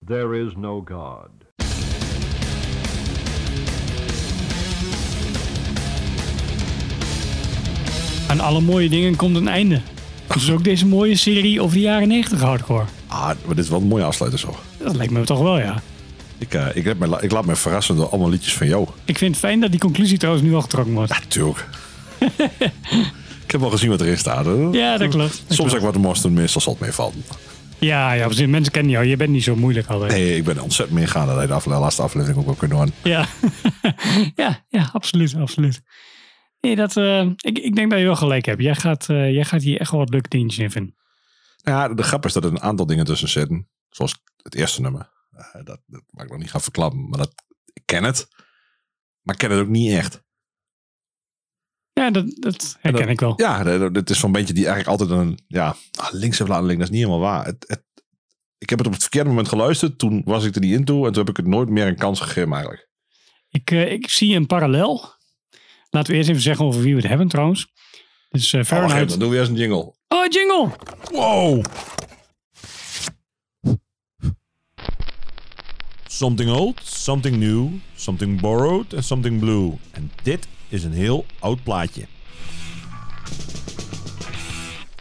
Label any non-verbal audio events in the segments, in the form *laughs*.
There is no God. Aan alle mooie dingen komt een einde. Dus ook deze mooie serie over de jaren 90 hardcore. Ah, maar dit is wel een mooie afsluiter zo. Dat lijkt me toch wel, ja. Ik, eh, ik, heb me, la- ik laat me verrassen door allemaal liedjes van jou. Ik vind het fijn dat die conclusie trouwens nu al getrokken *laughs* wordt. Tuurlijk. ik heb wel gezien wat erin staat. hè. Ja, dat klopt. Dat Soms klopt. zeg ik wat de monster meestal zal het mee vallen. Ja, ja, precies. mensen kennen jou. Je bent niet zo moeilijk altijd. Nee, ik ben ontzettend meegaan dat hij de afle- laatste aflevering ook wel kunnen horen. Ja. *laughs* ja, ja, absoluut, absoluut. Nee, dat, eh, ik, ik denk dat je wel gelijk hebt. Jij gaat, eh, jij gaat hier echt wel wat leuke dingetjes in vinden. Ja, de grap is dat er een aantal dingen tussen zitten. Zoals het eerste nummer. Eh, dat, dat mag ik nog niet gaan verklappen, maar dat, ik ken het. Maar ik ken het ook niet echt. Ja, dat, dat herken ik wel. Ja, dat- dat is zo'n beetje die eigenlijk altijd een... Ja, ah, links heeft laten links, dat is niet helemaal waar. Het, het, ik heb het op het verkeerde moment geluisterd. Toen was ik er niet in toe. En toen heb ik het nooit meer een kans gegeven eigenlijk. Oh, Ik, eh, ik zie een parallel. Laten we eerst even zeggen over wie we het hebben trouwens. Dus eh Oh, wacht even, Fahrenheit. dan doen we eerst een jingle. Oh, jingle! Wow! Something old, something new, something borrowed en something blue. En dit is een heel oud plaatje.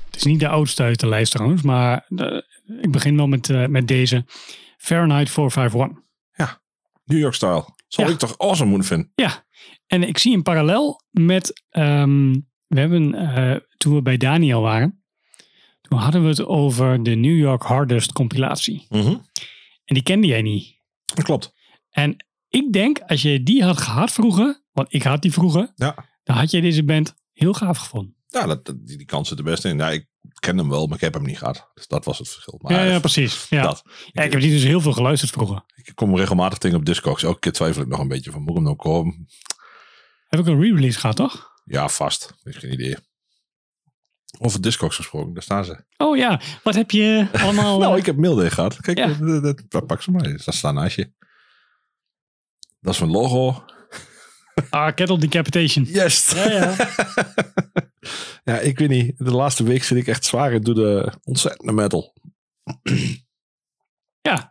Het is niet de oudste uit de lijst trouwens, maar eh, ik begin wel met, eh, met deze. Fahrenheit 451. New York style. Zou Ja. ik toch awesome moeten vinden? Ja, en ik zie een parallel met. ehm, we hebben, eh, toen we bij Daniel waren, toen hadden we het over de New York Hardest compilatie. Mhm. En die kende jij niet. Dat klopt. En ik denk, als je die had gehad vroeger, want ik had die vroeger, Ja. dan had jij deze band heel gaaf gevonden. Ja, dat, dat- die, die kans zit er best in. Ja, ik ken hem wel, maar ik heb hem niet gehad. Dus dat was het verschil. Maar ja, ja, precies. Ja. dat. Ja, ik heb die dus heel veel geluisterd vroeger. Ik kom regelmatig tegen op Discogs. Elke keer twijfel ik nog een beetje van, moet ik hem nou komen? Heb ik een re-release gehad, toch? Ja, vast. Ik heb geen idee. Over Discogs gesproken, daar staan ze. Oh ja, wat heb je allemaal... *laughs* nou, eh, ik heb Milde gehad. Kijk, Ja. dat, dat, dat- pak ze maar eens. Dat staat naast je. Dat is mijn logo. Ah, Kettle Decapitation. Yes! Ja, ja. *laughs* Ja, ik weet niet. De laatste week zit ik echt zwaar in door de ontzettende metal. Ja,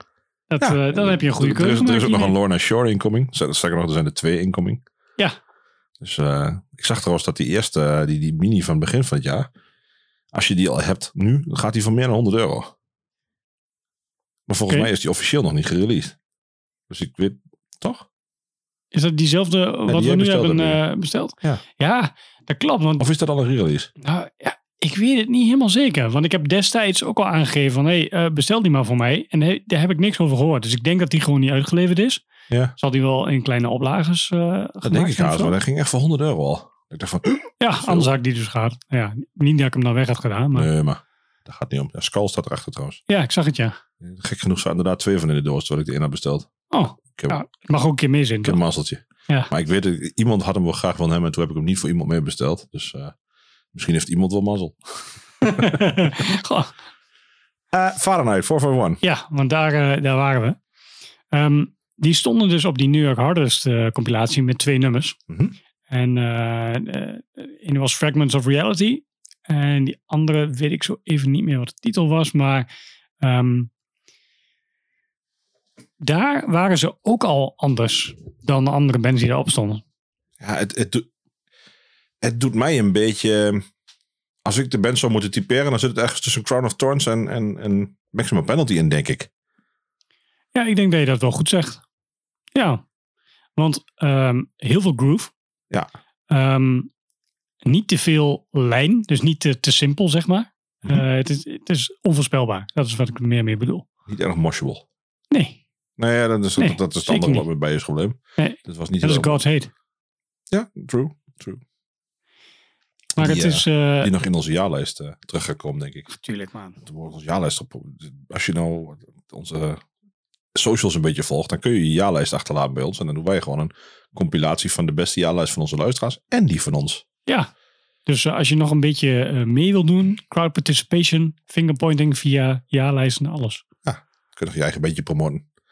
dat, Ja, eh, dan heb je een goede Er- er keuze is- Er is, gemaakt ook nog een hiermee. Lorna Shore incoming. Z- Sterker nog, er zijn er twee incoming. Ja. Dus eh, ik zag trouwens dat die eerste, eh, die, die mini van het begin van het jaar, als je die al hebt nu, dan gaat die van meer dan 100 euro. Maar volgens Oké. mij is die officieel nog niet gereleased. Dus ik weet, toch? Is dat diezelfde eh, wat jij we nu bestelde hebben hem eh, besteld? Ja. dat klopt. Want Of is dat al een release? nou, ja, ik weet het niet helemaal zeker. Want ik heb destijds ook al aangegeven van... hé, hey, eh, bestel die maar voor mij. En he- daar heb ik niks over gehoord. Dus ik denk dat die gewoon niet uitgeleverd is. Ja. Zal die wel in kleine oplages eh Dat denk ik zijn of haast, zo? want hij ging echt voor 100 euro al. Ik dacht van, *clears throat* Ja, anders had ik die dus gehad. Ja, niet dat ik hem dan weg had gedaan. Maar nee, maar dat gaat niet om. Ja, Skull staat erachter trouwens. ja, ik zag het ja. Gek genoeg zaten inderdaad twee van in de doos, terwijl ik de één had besteld. Oh, Ik heb, ja, het mag ook een keer mis in. ik heb een mazzeltje. Ja. Maar ik weet, dat iemand had hem wel graag van hem en toen heb ik hem niet voor iemand meer besteld. Dus eh, misschien heeft iemand wel mazzel. *laughs* Goh. Eh Fahrenheit 451. Ja, want daar, eh, daar waren we. Ehm, die stonden dus op die New York Hardest eh, compilatie met twee nummers. Mhm. En eh, eh, ene was Fragments of Reality. En die andere weet ik zo even niet meer wat de titel was. Maar ehm, daar waren ze ook al anders dan de andere bands die erop stonden. Ja, het, het, doet- het doet mij een beetje... eh, Als ik de band zou moeten typeren, dan zit het ergens tussen Crown of Thorns en, en, en Maximum Penalty in, denk ik. Ja, ik denk dat je dat wel goed zegt. Ja, want ehm, heel veel groove. Ja. Ehm, niet te veel lijn, dus niet te, te simpel, zeg maar. Eh, het, is, het is onvoorspelbaar. Dat is wat ik er meer mee bedoel. Niet erg moshable. Nee, Nou ja, dat is, Nee, dat, dat is het zeker andere niet. wat me bij is probleem. Nee, Dat was niet dat is heel... God's hate. Ja, true. Maar Die, het eh, is... eh Die nog in onze jaarlijst eh, terug gaat komen, denk ik. Tuurlijk, man. Toen wordt onze jaarlijst op. Als je nou onze socials een beetje volgt, dan kun je je jaarlijst achterlaten bij ons. En dan doen wij gewoon een compilatie van de beste jaarlijst van onze luisteraars en die van ons. Ja, dus eh, als je nog een beetje eh, mee wil doen, crowd participation, fingerpointing via jaarlijst en alles. Kun je nog je eigen beetje promoten. Het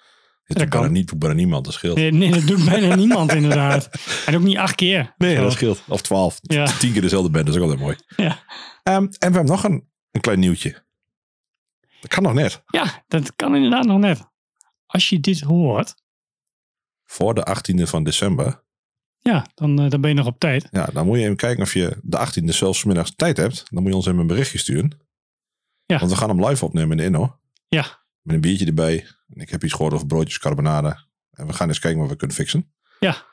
Dat doet bijna, kan. niet, doet bijna niemand, dat scheelt. Nee, nee dat doet bijna *laughs* niemand inderdaad. En ook niet acht keer. Zo. scheelt. Of twaalf. Ja. *laughs* Tien keer dezelfde band, dat is ook altijd mooi. Ja. Ehm, en we hebben nog een, een klein nieuwtje. Dat kan nog net. ja, dat kan inderdaad nog net. als je dit hoort, Voor de 18e van december. ja, dan, eh, dan ben je nog op tijd. Ja, dan moet je even kijken of je de 18e zelfs 's middags tijd hebt. Dan moet je ons even een berichtje sturen. Ja. Want we gaan hem live opnemen in de Inno. Ja. Met een biertje erbij. En ik heb iets gehoord over broodjes carbonade. En we gaan eens kijken wat we kunnen fixen. Ja.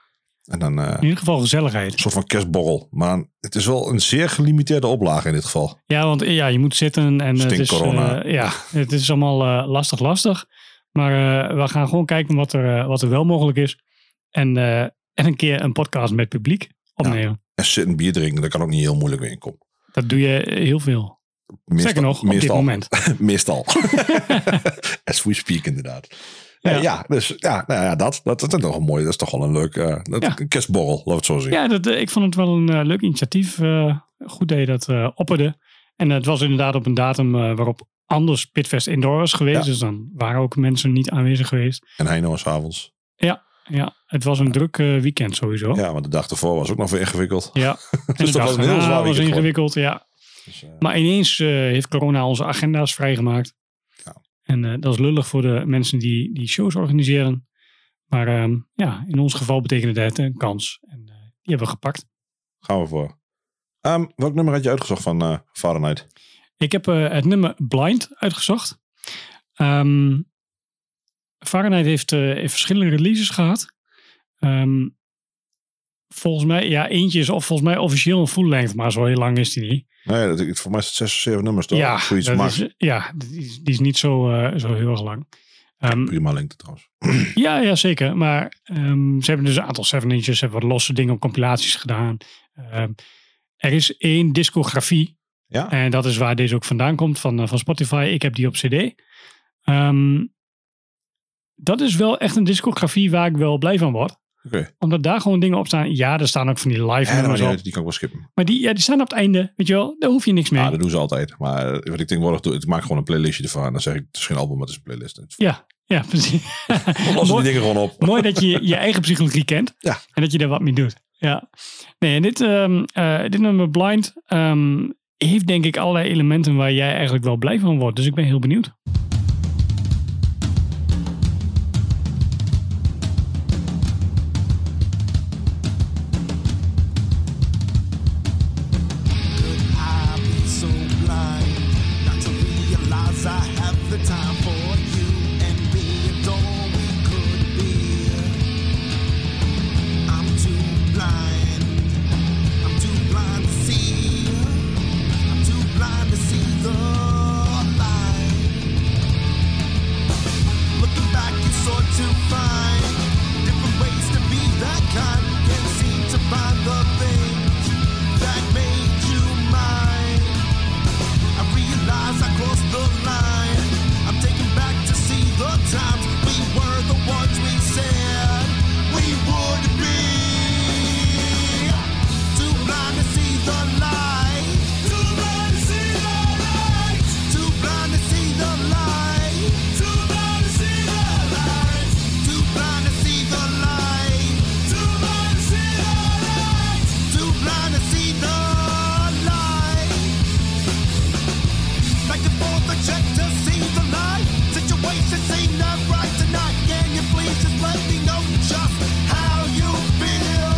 En dan eh, In ieder geval een gezelligheid. soort van kerstborrel. Maar het is wel een zeer gelimiteerde oplage in dit geval. Ja, want eh, ja, je moet zitten en eh, het is, Stinkcorona. eh, ja, het is allemaal eh, lastig, lastig. Maar eh, we gaan gewoon kijken wat er, eh, wat er wel mogelijk is. En, eh, en een keer een podcast met publiek opnemen. En zit een bier drinken, dat kan ook niet heel moeilijk weer inkomen. Dat doe je eh, heel veel. Meestal, Zeker nog, op dit meestal, moment. *laughs* *laughs* Meestal. As we speak, inderdaad. Nee, Ja. ja. dus ja, nou ja, dat, dat, dat is toch een mooi, dat is toch wel een leuk eh, dat- Ja. een kerstborrel, laat het zo zien. Ja, dat, eh, ik vond het wel een eh, leuk initiatief. eh, goed dat je dat eh, opperde. En het was inderdaad op een datum eh, waarop anders Pitfest indoor was geweest. Ja. Dus dan waren ook mensen niet aanwezig geweest. En hij nou s'avonds. Ja, het was een druk eh, weekend sowieso. Ja. Ja, want de dag ervoor was ook nog weer ingewikkeld. *laughs* En dat de dag was een heel daarna zwaar was weekend ingewikkeld, ja. Dus, eh, Maar ineens eh, heeft corona onze agenda's vrijgemaakt. Ja. En eh, dat is lullig voor de mensen die, die shows organiseren. Maar ehm, ja, in ons geval betekende dat een kans. En eh, die hebben we gepakt. gaan we voor. Ehm, welk nummer had je uitgezocht van eh Fahrenheit? Ik heb eh, het nummer Blind uitgezocht. Ehm Fahrenheit heeft, eh, heeft verschillende releases gehad. Ehm, volgens mij, ja, eentje is of, volgens mij officieel een full length, maar zo heel lang is die niet. Nee, dat, ik- voor mij is het zes of zeven nummers toch? ja, Zoiets dat maar is, eh, ja die, is, die is niet zo, eh, zo heel erg lang. Ehm, prima lengte trouwens. ja, ja, zeker. Maar ehm, ze hebben dus een aantal 7 inches, ze hebben wat losse dingen op compilaties gedaan. Ehm, er is één discografie Ja, En dat is waar deze ook vandaan komt, van, eh, van Spotify. Ik heb die op CD. Ehm, dat is wel echt een discografie waar ik wel blij van word. oké. Omdat daar gewoon dingen op staan. Ja, er staan ook van die live Ja, dat maakt nummers niet op. uit, Die kan ik wel skippen. Maar die, ja, die staan op het einde. Weet je wel, daar hoef je niks mee. Ja, Ah, dat doen ze altijd. Maar eh, wat ik tegenwoordig doe, ik maak gewoon een playlistje ervan. En dan zeg ik, het is geen album, maar het is een playlist. En Ja, precies. *laughs* We lossen die mooi, dingen gewoon op. mooi dat je je eigen psychologie kent. Ja. En dat je daar wat mee doet. Ja. Nee, en dit, ehm, eh, dit nummer Blind ehm, heeft denk ik allerlei elementen waar jij eigenlijk wel blij van wordt. Dus ik ben heel benieuwd. Could I be so blind not to realize I have the time for you and me and all we could be? I'm too blind. I'm too blind to see. I'm too blind to see the light. Looking back, it's hard to find different ways to be that kind. Can't seem to find the things that made you mine. I realize I crossed the line. I'm taken back to see the times we were the ones we said we would be. Too blind to see the light. Too blind to see the light. Too blind to see the light. Too blind to see the light. Too blind to see the light. Too blind to see the light. Too blind to see the light. Back and forth, I check to see the light. Situation seemed not right tonight. Can you please just let me know just how you feel?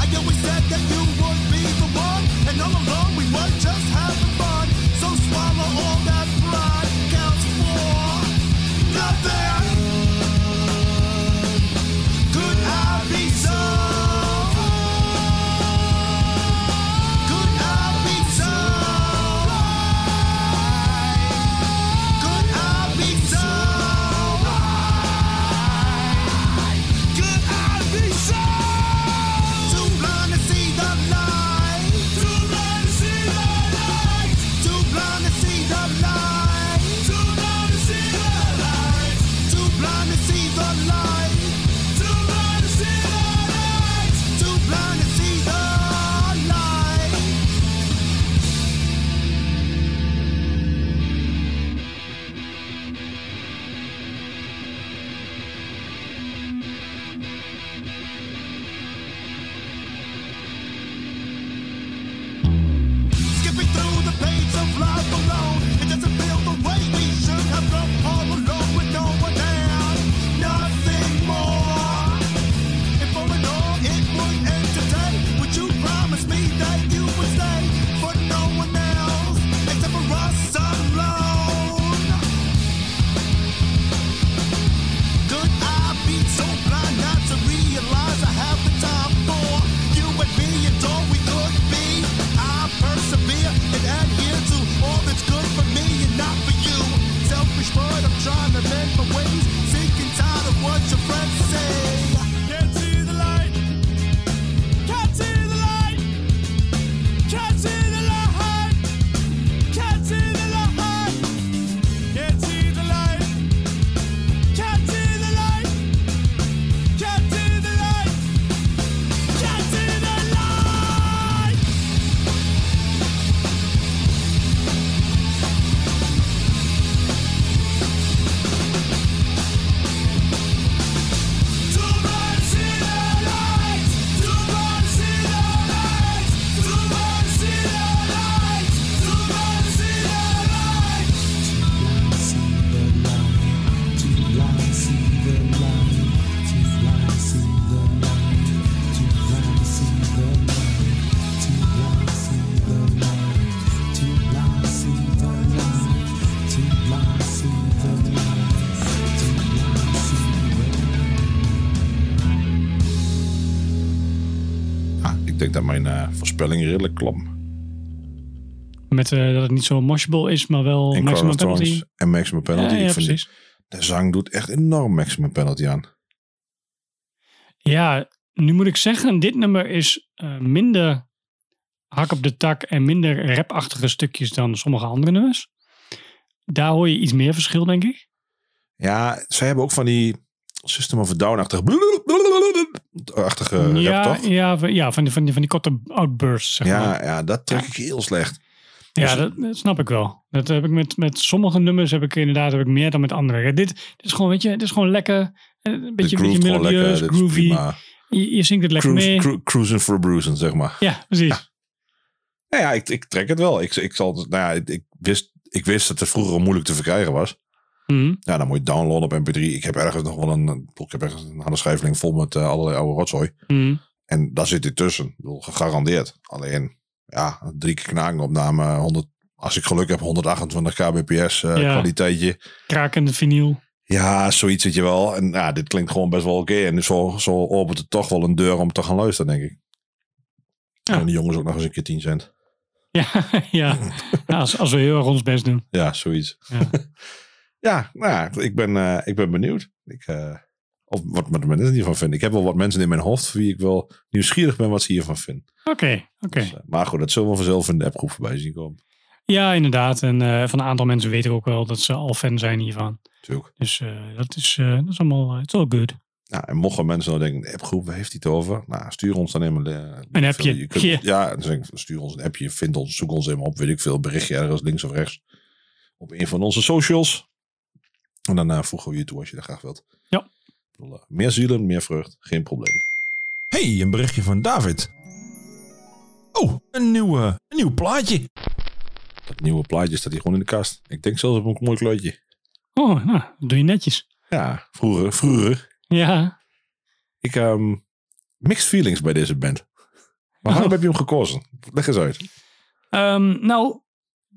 I always said that you would be the one, and all along we were just having fun. So swallow all that pride counts for nothing. Could I be so? uh. Could I be so? uh. Could I be so? Could I be so? Too blind to see the light. Too blind to see the light. Too blind to see the light. Too blind to see the light. Too blind to see the light. Too blind to see the light. Too blind to see the light. Skipping through the page of life alone. It doesn't feel the way we should have grown all alone with no one there. ways. Sick and tired of what your friends say. Can't see the light. Can't see the light. Can't see the light. Can't see the light. Can't see the light. Can't see the light. Can't see the light. Can't see the light. To burn, see the light. To burn, see the light. To burn, see the light. To burn, see the light. Ah, ik denk dat mijn eh, voorspelling redelijk klopt. Met eh, dat het niet zo moshable is, maar wel En Corona maximum penalty. Thorns en maximum penalty. Ja, ja, ik vind precies. de zang doet echt enorm maximum penalty aan. Ja, nu moet ik zeggen, dit nummer is eh, minder hak op de tak en minder rapachtige stukjes dan sommige andere nummers. Daar hoor je iets meer verschil, denk ik. Ja, zij hebben ook van die System of a Down-achtige... achtige ja, Eh, rap, toch? Ja, ja, van, ja van, die, van, die, van die korte outbursts, zeg maar. ja, dat trek ik heel slecht. Ja, dat, dat snap ik wel. Dat heb ik met, met sommige nummers heb ik inderdaad heb ik meer dan met andere. Dit, dit is gewoon, weet je, dit is gewoon lekker. eh, Een beetje, Dit beetje groeft gewoon lekker, melodieus, dit is groovy. prima. Je, je zingt het lekker Cruise, mee. cru- cruising for bruising, zeg maar. Ja, precies. Nou ja, ik, ik trek het wel. Ik, ik, zal, nou ja, ik, ik wist, ik wist dat het vroeger al moeilijk te verkrijgen was. Mhm. Ja, dan moet je het downloaden op mp3. Ik heb ergens nog wel een, ik heb ergens een harde schijfeling vol met eh, allerlei oude rotzooi. Mhm. En daar zit dit tussen. Ik bedoel, gegarandeerd. Alleen, ja, drie keer knaken opname. 100, als ik geluk heb, 128 kbps eh, Ja. kwaliteitje. Krakende vinyl. *laughs* Ja, zoiets zit je wel. En ja, dit klinkt gewoon best wel oké. En zo, zo opent het toch wel een deur om te gaan luisteren, denk ik. Ja. En de jongens ook nog eens een keer 10 cent. Ja, *laughs* ja. Ja, als, als we heel erg ons best doen. Ja, zoiets. Ja. Ja, nou *laughs* ja, ik ben, eh, ik ben benieuwd. Ik, eh, of wat wat mensen hiervan vinden. Ik heb wel wat mensen in mijn hoofd voor wie ik wel nieuwsgierig ben wat ze hiervan vinden. Oké, oké. Dus, eh, maar goed, dat zullen we vanzelf in de appgroep voorbij zien komen. Ja, inderdaad. En eh, van een aantal mensen weten we ook wel dat ze al fan zijn hiervan. Natuurlijk. Dus eh, dat, is, eh, dat is allemaal, eh, it's all good. Nou, en mochten mensen dan denken, de appgroep, waar heeft hij het over? Nou, stuur ons dan even eh, Een appje. *laughs* Je kunt- Ja. Ja, dan zeg ik, stuur ons een appje, vind ons, zoek ons even op, weet ik veel, berichtje ergens links of rechts. Op een van onze socials. En dan eh, voegen we je toe als je dat graag wilt. Ja. Ik bedoel, eh, Meer zielen, meer vreugd, geen probleem. Hey, een berichtje van David. Oh, een, nieuwe, een nieuw plaatje. Dat nieuwe plaatje staat hier gewoon in de kast. Ik denk zelfs op een mooi kleurtje. Oh, nou, dat doe je netjes. Ja, vroeger, vroeger. Ja, Ik, ehm mixed feelings bij deze band. Maar waarom Oh. heb je hem gekozen? Leg eens uit. Ehm, nou,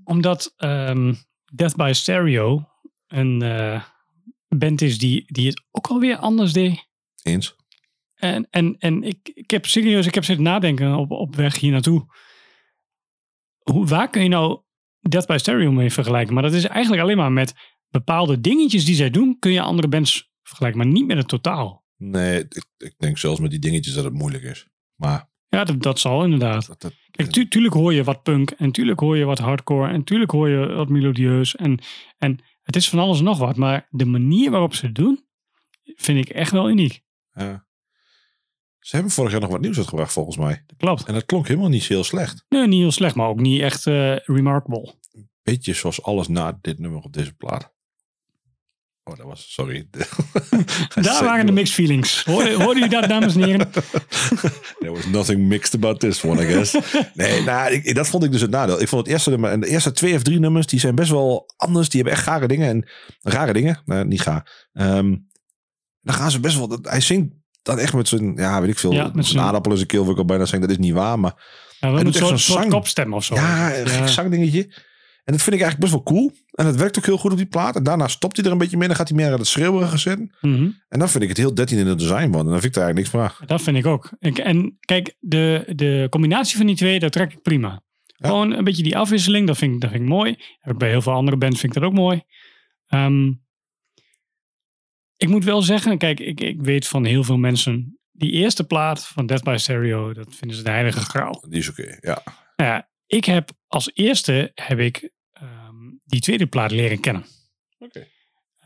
omdat ehm, Death by Stereo een eh, band is die, die het ook alweer anders deed. Eens. En, en, en ik, ik heb serieus, ik heb zitten nadenken op, op weg hier naartoe. Hoe, waar kun je nou Death by Stereo mee vergelijken? Maar dat is eigenlijk alleen maar met bepaalde dingetjes die zij doen, kun je andere bands vergelijken, maar niet met het totaal. Nee, ik, ik denk zelfs met die dingetjes dat het moeilijk is. Maar Ja, dat, dat zal inderdaad. dat, dat, Kijk, tu- tuurlijk hoor je wat punk en tuurlijk hoor je wat hardcore en tuurlijk hoor je wat melodieus en, en het is van alles en nog wat, maar de manier waarop ze het doen, vind ik echt wel uniek. eh, ze hebben vorig jaar nog wat nieuws uitgebracht volgens mij. Dat klopt. En dat klonk helemaal niet heel slecht. Nee, niet heel slecht, maar ook niet echt eh, remarkable. Beetje zoals alles na dit nummer op deze plaat. Oh, dat was, sorry. *laughs* Daar waren de mixed feelings. Hoorde, hoorde u dat, dames en heren? There was nothing mixed about this one, I guess. *laughs* Nee, nou, ik, dat vond ik dus het nadeel. Ik vond het eerste nummer en de eerste twee of drie nummers, die zijn best wel anders. Die hebben echt gare dingen en rare dingen. Nou, niet ga. Ehm, dan gaan ze best wel. dat- Hij zingt dan echt met zijn, ja, weet ik veel, Ja, met met zijn zijn- aardappel in zijn keel. Wil ik al bijna zeggen, dat is niet waar, maar Nou, we hebben doet echt zo'n zo'n soort zang. kopstem of zo. ja, een gek zangdingetje. En dat vind ik eigenlijk best wel cool. En dat werkt ook heel goed op die plaat. En daarna stopt hij er een beetje mee. Dan gaat hij meer aan het schreeuwerige zitten. Mhm. En dan vind ik het heel 13 in het design worden. En dan vind ik daar eigenlijk niks van. Ah, af. Dat vind ik ook. Ik, en kijk, de, de combinatie van die twee, dat trek ik prima. Gewoon een beetje die afwisseling, dat vind, ik- dat vind ik mooi. Heb ik Bij heel veel andere bands vind ik dat ook mooi. Ehm, Ik moet wel zeggen, kijk, ik, ik weet van heel veel mensen. Die eerste plaat van Death by Stereo, dat vinden ze de heilige graal. Die is oké, ja. Nou ja, ik heb als eerste heb ik ehm, die tweede plaat leren kennen. Oké.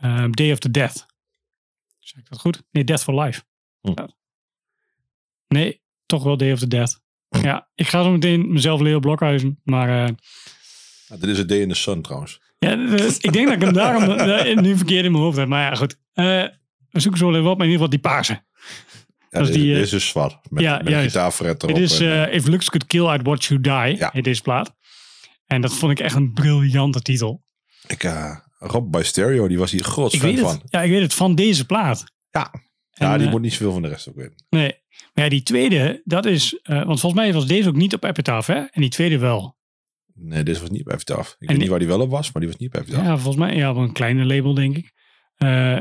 Ehm, Day of the Death. Zeg ik dat goed? Nee, Death for Life. Hm. Ja. Nee, toch wel Day of the *laughs* Death. Ja, ik ga zo meteen mezelf leren blokhuizen, maar eh, Nou, dit is het Day in the Sun trouwens. ja, dus ik denk dat ik hem daarom *laughs* eh, nu verkeerd in mijn hoofd heb. Maar ja, goed. Eh, we zoeken zo wel even op, maar in ieder geval die paarse. Ja, Dat is dit, die, eh, dit is dus zwart. Met, ja, met een juist. gitaarfret erop. Het is en- eh, If Looks Could Kill Out What You Die, Ja. heet deze plaat. En dat vond ik echt een briljante titel. ik, eh, Rob by Stereo, die was hier groot Ik fan weet, van. het, ja, ik weet het, van deze plaat. Ja. En, ja, die eh, moet niet zoveel van de rest ook weten. Nee. Maar ja, die tweede, dat is... eh, want volgens mij was deze ook niet op Epitaph, hè? En die tweede wel. Nee, dit was niet bij Epitaph. Ik weet die- niet waar die wel op was, maar die was niet bij Ja, Epitaph. volgens mij. Ja, op een kleine label, denk ik. Eh,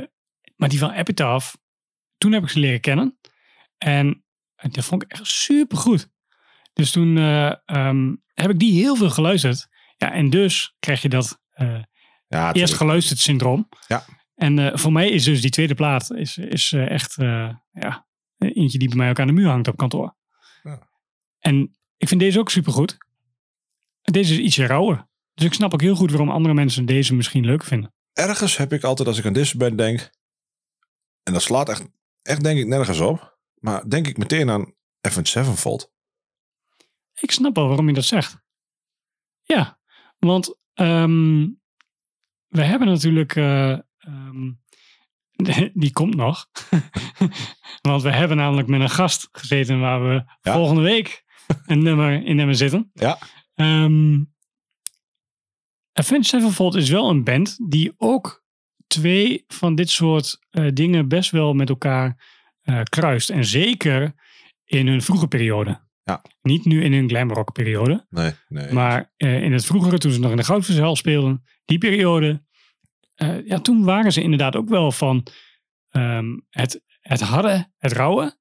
maar die van Epitaph, toen heb ik ze leren kennen. En eh, dat vond ik echt supergoed. Dus toen eh, ehm, heb ik die heel veel geluisterd. Ja, en dus krijg je dat... eh, Ja, eerst tuurlijk. geluisterd syndroom. Ja. En eh, voor mij is dus die tweede plaat is, is eh, echt eh, ja, eentje die bij mij ook aan de muur hangt op kantoor. Ja. En ik vind deze ook supergoed. Deze is ietsje rauwer. Dus ik snap ook heel goed waarom andere mensen deze misschien leuk vinden. Ergens heb ik altijd, als ik aan deze band denk... En dat slaat echt, echt denk ik nergens op. Maar denk ik meteen aan Evan Sevenfold. Ik snap wel waarom je dat zegt. Ja, want ehm, we hebben natuurlijk. eh, ehm, *laughs* die komt nog. *laughs* want we hebben namelijk met een gast gezeten waar we Ja. volgende week een nummer in hebben zitten. Ja. Ehm Avenged Sevenfold is wel een band die ook twee van dit soort eh, dingen best wel met elkaar eh, kruist. En zeker in hun vroege periode. Ja. Niet nu in hun glamrock periode. Nee, nee. Maar eh, in het vroegere, toen ze nog in de Goudverzuil speelden, die periode, eh, ja, toen waren ze inderdaad ook wel van ehm, het, het harde, het rauwe.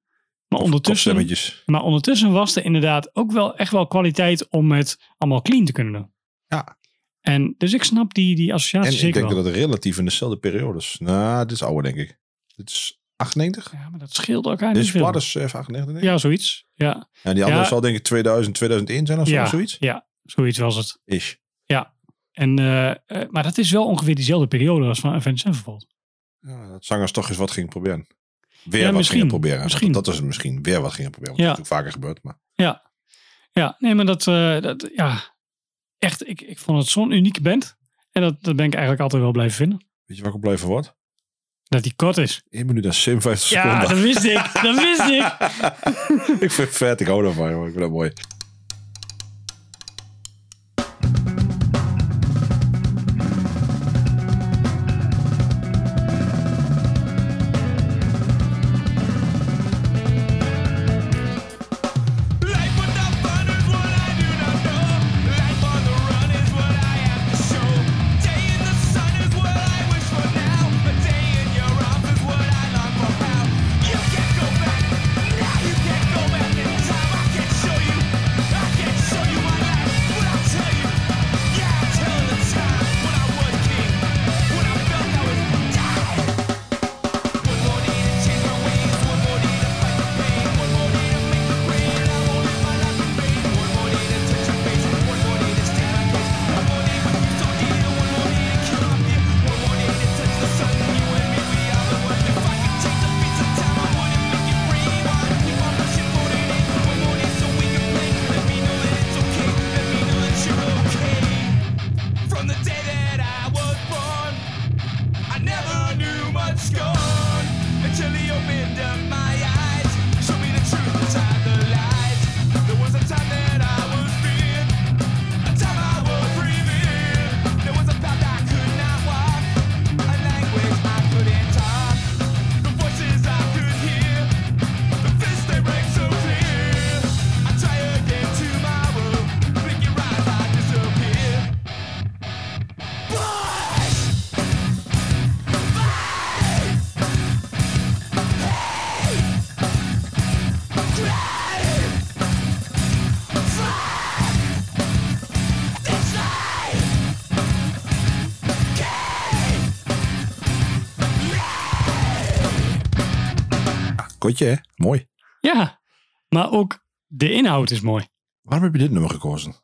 Maar ondertussen, Kopstemmetjes. maar ondertussen was er inderdaad ook wel echt wel kwaliteit om het allemaal clean te kunnen doen. Ja. En dus ik snap die, die associatie En ik zeker denk wel. dat het relatief in dezelfde periodes... Nou, dit is ouder, denk ik. Dit is 98? Ja, maar dat scheelde elkaar Dit niet is veel. plat, is even 98, denk ik. Ja, zoiets. Ja, En die andere Ja. zal denk ik 2000, 2001 zijn of zo, Ja. zoiets. ja, zoiets was het. Is. En, eh, eh, maar dat is wel ongeveer diezelfde periode als van Avenged Sevenfold. Ja, dat zangers toch eens wat gingen proberen. Weer Ja, wat misschien. gingen proberen. Misschien. Dat is het misschien. Weer wat gingen proberen. Want Ja. Dat is natuurlijk vaker gebeurd. Maar Ja, nee, maar dat, eh, dat ja, echt, ik, ik vond het zo'n unieke band. En dat, dat ben ik eigenlijk altijd wel blijven vinden. weet je waar ik op blij van word? Dat die kort is. 1 minuut en 57 Ja, seconden. *laughs* dat wist ik. Dat wist ik. ik vind het vet. Ik hou daarvan. Joh. Ik vind dat mooi. Life without fun is what I do not know. Life on the run is what I have to show. Day in the sun is what I wish for now. A day in your arms is what I long for now. You can't go back. Now you can't go back in time. I can show you. Kotje, hè? Mooi. Ja, maar ook de inhoud is mooi. Waarom heb je dit nummer gekozen?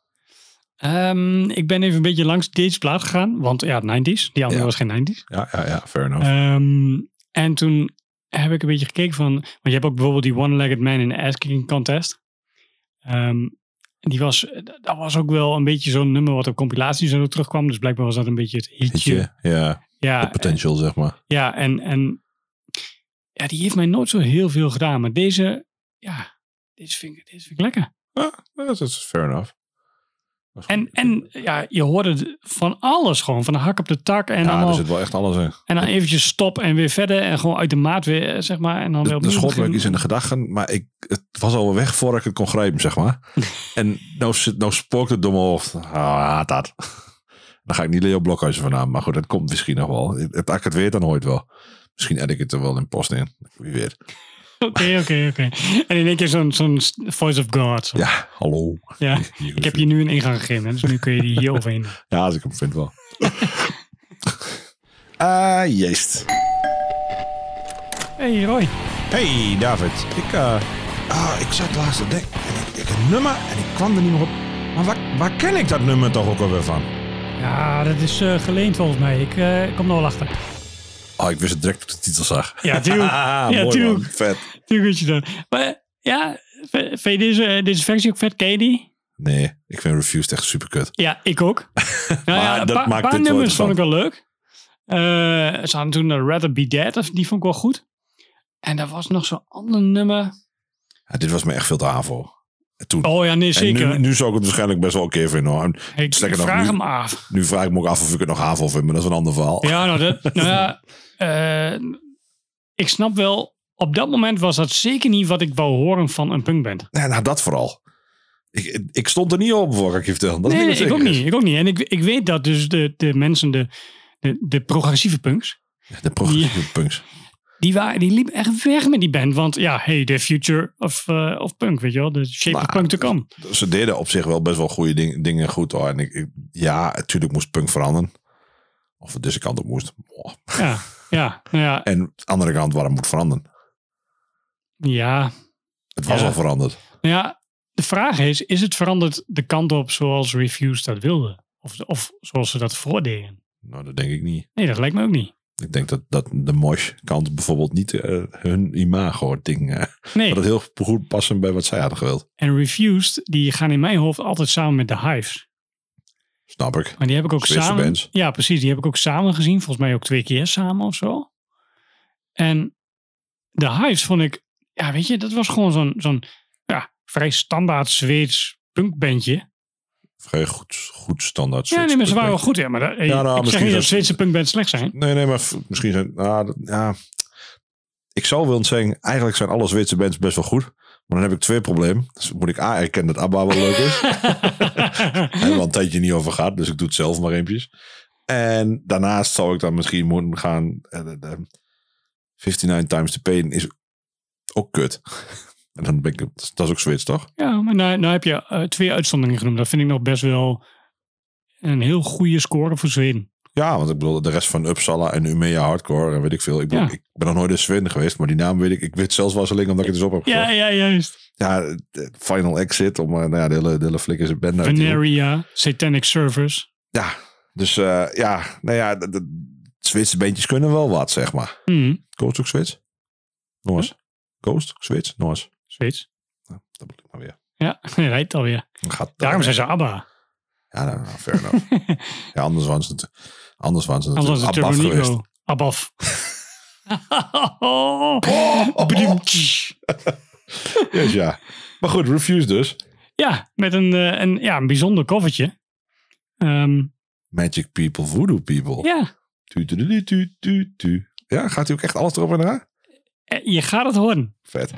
Ehm, ik ben even een beetje langs deze plaat gegaan, want ja, 90s. Die andere Ja. was geen 90s. Ja, ja, ja, fair enough. Ehm, en toen heb ik een beetje gekeken van... Want je hebt ook bijvoorbeeld die One-Legged Man in de Ass Kicking Contest. Ehm, die was, dat was ook wel een beetje zo'n nummer wat op compilaties en zo terugkwam. Dus blijkbaar was dat een beetje het hitje. Hitje, ja. Ja, eh, Het potential, zeg maar. ja, en, en ja, die heeft mij nooit zo heel veel gedaan. Maar deze, ja, deze vind ik, deze vind ik lekker. Ja, dat is fair enough. Dat is En, goed. en ja, je hoorde het van alles gewoon. Van de hak op de tak en, ja, dus er allemaal, zit wel echt alles in. en dan eventjes stop en weer verder. En gewoon uit de maat weer, eh, zeg maar. En dan weer De, de opnieuw schotwerk beginnen. is in de gedachten, maar ik, het was al weg voordat ik het kon grijpen, *laughs* zeg maar. en nou, zit- nou spookt het door mijn hoofd. Ah, dat. Dan ga ik niet Leo Blokhuizen vandaan, maar goed, dat komt misschien nog wel. Het- Als ik het weet, dan hoor je het wel. Misschien edit ik het er wel in post in. Wie weet. Oké, oké, oké. En in één keer zo'n zo'n voice of God. Zo. Ja. Ja, hallo. Ik heb je nu een ingang gegeven, hè, dus nu kun je die hier *laughs* overheen. Ja, als ik hem vind wel. Ah, jeest. hey, Roy. Hey David, ik, eh, Ah, ik zat laatst te denken. En ik- ik- een nummer en ik kwam er niet meer op. Maar waar, waar ken ik dat nummer toch ook alweer van? Ja, dat is eh, geleend volgens mij. Ik eh, kom er wel achter. Ah, ik wist het direct toen ik de titel zag. Ja, tuurlijk. *laughs* Ah, Ja, mooi man. tuurlijk. Vet. Tuurlijk weet je dat. Maar eh, ja, v- vind je deze, eh, deze versie ook vet? Ken je die? Nee, ik vind Refused echt super kut. Ja, ik *laughs* ook. nou ja, een dat paar, maakt paar dit wel nummers vond interessant. ik wel leuk. Eh, ze hadden toen eh, Rather Be Dead, of- die vond ik wel goed. En daar was nog zo'n ander nummer. Ja, dit was me echt veel te havo. En Toen. Oh ja, nee, en zeker. nu, nu zou ik het waarschijnlijk best wel oké vinden. hoor. En ik, ik sterker nog, vraag nu- hem af. Nu vraag ik me ook af of ik het nog havo vind, maar dat is een ander verhaal. Ja, nou, dat, nou *laughs* ja, eh, ik snap wel, op dat moment was dat zeker niet wat ik wou horen van een punkband. Ja, nou, dat vooral. Ik, ik stond er niet op voor, kan ik je vertellen. Dat nee, weet nee, ik ook zeker. niet. Ik ook niet. En ik, ik weet dat dus de, de mensen, de, de, de progressieve punks, De progressieve punks. die, waren, die liepen echt weg met die band. Want ja, hey, the future of, eh, of punk, weet je wel. The shape Nou, of punk to come. Ze deden op zich wel best wel goede ding- dingen goed hoor. En ik, ik- ja, natuurlijk moest punk veranderen. Of het deze kant op moest. Oh. Ja, ja, nou ja, En de andere kant waar het moet veranderen. ja. Het was Ja. al veranderd. Nou ja, de vraag is, is het veranderd de kant op zoals Refused dat wilde? Of, of zoals ze dat voordeden? Nou, dat denk ik niet. Nee, dat lijkt me ook niet. Ik denk dat, dat de mosh kant bijvoorbeeld niet eh, hun imago ding. eh, Nee. dat het heel goed passen bij wat zij hadden gewild. En Refused, die gaan in mijn hoofd altijd samen met de Hives. Snap ik. Maar die heb ik ook Zwitser samen. bands. Ja, precies. Die heb ik ook samen gezien. Volgens mij ook twee keer samen of zo. En de Hives vond ik, ja, weet je, dat was gewoon zo'n zo'n ja, vrij standaard Zweeds punkbandje. Vrij goed, goed standaard. Ja, nee, maar ze Zwitser waren wel puntje. goed, hè? Maar dat, nou, ik zeg misschien niet dat zo- Zweedse punkbands slecht *laughs* zijn. *laughs* Nee, nee, maar f- misschien zijn. ah, dat- ja. Ik zou willen zeggen, eigenlijk zijn alle Zweedse bands best wel goed. Maar dan heb ik twee problemen. Dus moet ik A erkennen dat ABBA wel leuk is. Daar hebben we al een tijdje niet over gehad, dus ik doe het zelf maar eventjes. En daarnaast zou ik dan misschien moeten gaan... eh, de- de 59 Times the Pain is ook kut. *laughs* En dan ben ik, dat is ook Zweeds, toch? ja, maar nou, nou heb je eh, twee uitzonderingen genoemd. Dat vind ik nog best wel een heel goede score voor Zweden. Ja, want ik bedoel, de rest van Uppsala en Umeå Hardcore en weet ik veel. Ik, bedoel, Ja. ik ben nog nooit in Zweden geweest, maar die naam weet ik. Ik weet zelfs wel zo alleen omdat ik het dus op heb Ja, gezocht. ja, juist. Ja, de Final Exit, om eh, nou ja, de hele, de hele flik is het band uit te doen. Veneria, Satanic Service. Ja, dus eh, ja, nou ja, de, de Zweedse bandjes kunnen wel wat, zeg maar. Hm, Coast ook Zweeds? Noors. Coast, Zweeds, Noors. Zweeds. Nou, dat bedoel ik maar weer. Ja, *laughs* hij rijdt alweer. Dan Gaat, Daarom zijn ze ABBA. Ja, nou, nou, *laughs* fair enough. ja, anders waren ze natuurlijk. Anders waren ze Anders was natuurlijk het Turbo abaf geweest. Negro. Abaf. Oh, Bedoemtsch. Dus ja. Maar goed, Refuse dus. ja, met een, eh, een, ja, een bijzonder koffertje. Ehm, Magic People, Voodoo People. ja, Tu, tu, tu, tu, tu, tu. Ja, gaat hij ook echt alles erop en eraan? eh, je gaat het horen. Vet.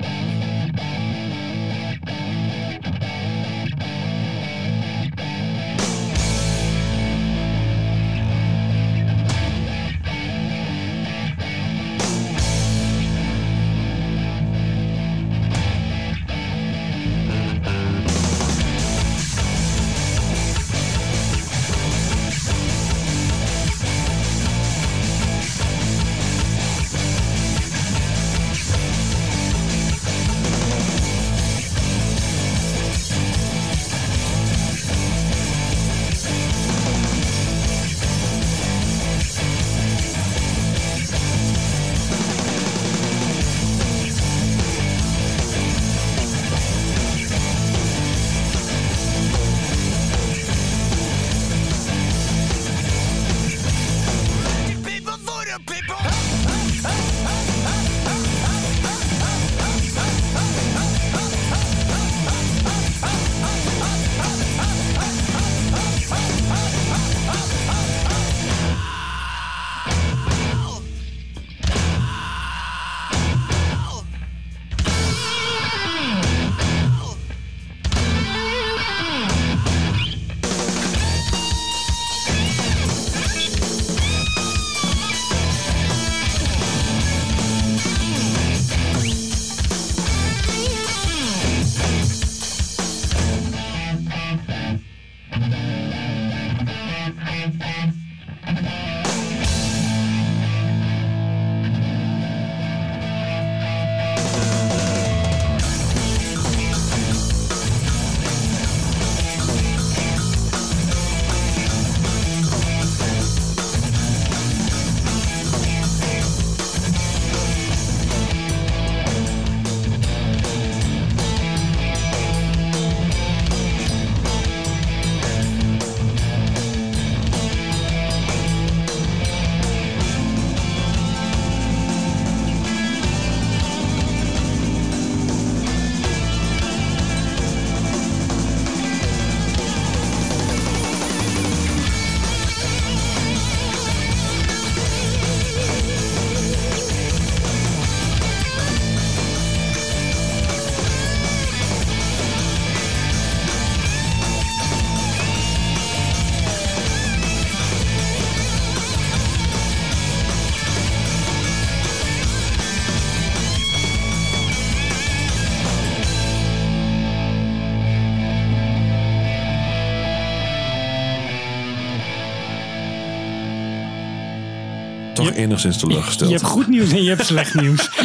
enigszins teleurgesteld. Je hebt goed nieuws en je hebt slecht nieuws. Maar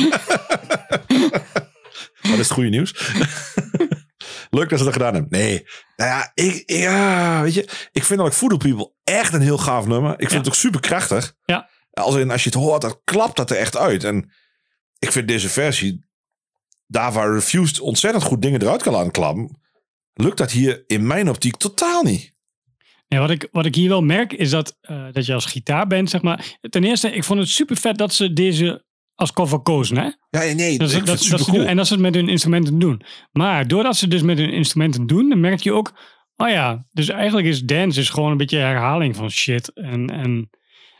dat is het goede nieuws. *laughs* Leuk dat ze dat gedaan hebben. Nee. Nou ja, ik, ja, weet je. Ik vind dat ik Voodoo People echt een heel gaaf nummer. Ik vind Ja. het ook super krachtig. Ja. Als, in, als je het hoort, dan klapt dat er echt uit. En ik vind deze versie, daar waar Refused ontzettend goed dingen eruit kan laten klappen, lukt dat hier in mijn optiek totaal niet. Ja, wat, ik, wat ik hier wel merk is dat, eh, dat je als gitaarband, zeg maar. Ten eerste, ik vond het super vet dat ze deze als cover kozen. Hè? Ja, nee, Dat, ik ze- vind dat, het dat super ze doen, cool. en dat ze het met hun instrumenten doen. Maar doordat ze dus met hun instrumenten doen, dan merk je ook, oh ja, dus eigenlijk is dance is gewoon een beetje herhaling van shit. En, en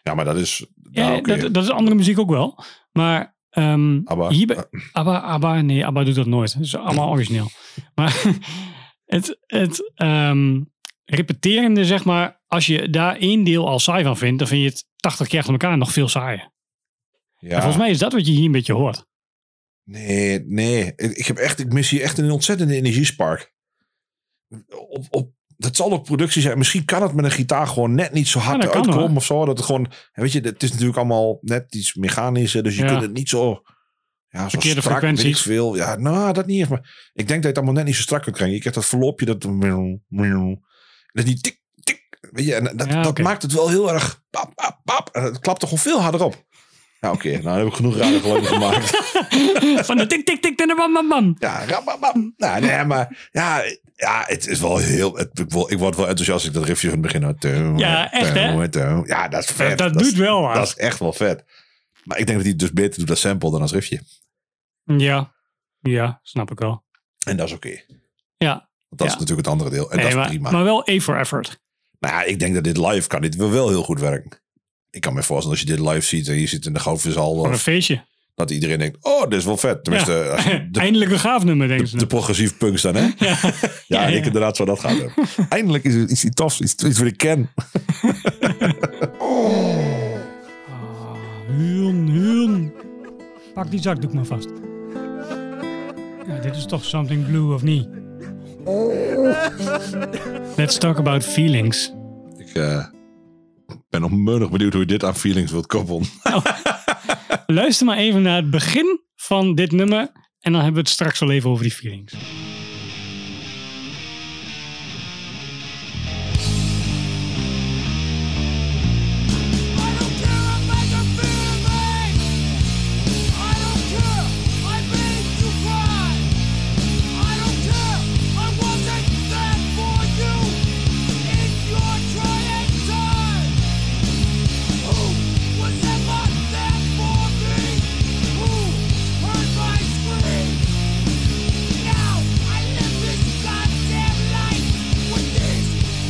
Ja, maar dat is... ja, Nou, oké. dat, dat is andere muziek ook wel. Maar ehm Abba. hier bij- ABBA, ABBA, nee, ABBA doet dat nooit. Dat is allemaal origineel. Maar het, het ehm, repeterende, zeg maar, als je daar één deel al saai van vindt, dan vind je het 80 keer achter elkaar nog veel saaier. ja. En volgens mij is dat wat je hier een beetje hoort. Nee, nee. Ik, ik heb echt, ik mis hier echt een ontzettende energiespark. Op, op, dat zal op productie zijn. Misschien kan het met een gitaar gewoon net niet zo hard Ja, dat kan, uitkomen hoor. of zo. Dat het gewoon, weet je, het is natuurlijk allemaal net iets mechanisch. hè, Dus je Ja. kunt het niet zo, ja, zo Verkeerde strak, weet ik frequenties. veel. Ja, nou, dat niet echt. Maar ik denk dat je het allemaal net niet zo strak kunt krijgen. Je krijgt dat verloopje, dat, dat die tik, tik. Weet je, en dat, Ja, dat oké. maakt het wel heel erg, pap, pap, pap. En het klapt er gewoon veel harder op. Ja, oké. Nou, heb ik genoeg rare geluiden gemaakt. van de tik, tik, tik, en de bam, bam, bam. Ja, rababam. Nou, *laughs* nee, maar ja, ja, het is wel heel. het- ik, word, ik word wel enthousiast als ik dat riffje van het begin had. Ja, echt, hè? Ja, dat is Dat, vet. dat is- doet wel Dat wat. is echt wel vet. Maar ik denk dat hij het dus beter doet dat sample dan als riffje. Ja. ja, snap ik wel. En dat is oké. Ja, Want dat is Ja. natuurlijk het andere deel. En nee, dat is maar, prima. maar wel A for effort. Nou, ja, ik denk dat dit live kan. Dit wil wel heel goed werken. Ik kan me voorstellen als je dit live ziet en je zit in de goudvishal. Voor een of- feestje. Dat iedereen denkt, oh, dit is wel vet. Tenminste, als je *laughs* de, Eindelijk een gaaf nummer, denken ze. de progressief punks dan, hè? ja. *laughs* Ja, Ja, ik ja. inderdaad zo dat gaat *laughs* hebben. Eindelijk is het iets tofs, iets, iets wat ik ken. Huun, huun. Pak die zakdoek maar vast. Ja, dit is toch something blue, of niet? Let's talk about feelings. Ik eh, ben onmiddellijk benieuwd hoe je dit aan feelings wilt koppelen. Luister maar even naar het begin van dit nummer. En dan hebben we het straks al even over die feelings. *laughs*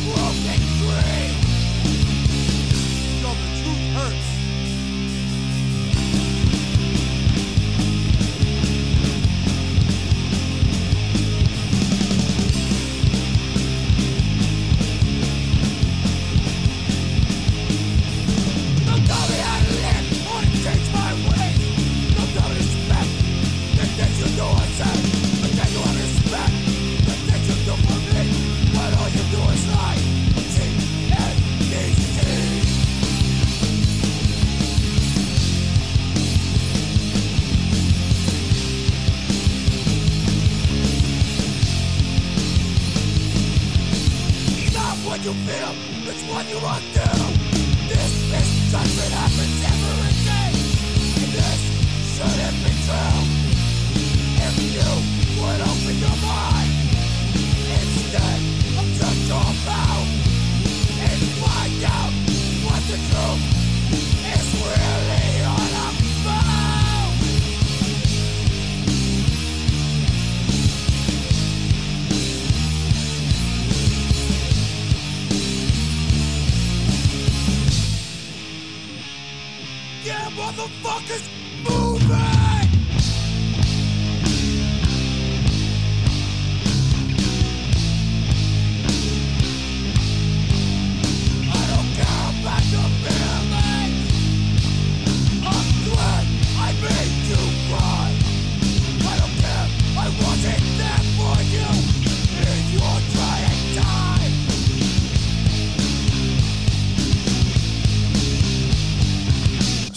Dream. No, the truth hurts. Don't tell me how to live or to change my ways. Don't tell me respect the things you do and say. The things you respect the things you do for me. When all you do is lie, cheat, and deceive. Stop what you feel, it's what you undo. This misjudgment happens every day. This shouldn't be true. If you would open your mind, instead of just your mouth, and find out what the truth is really all about.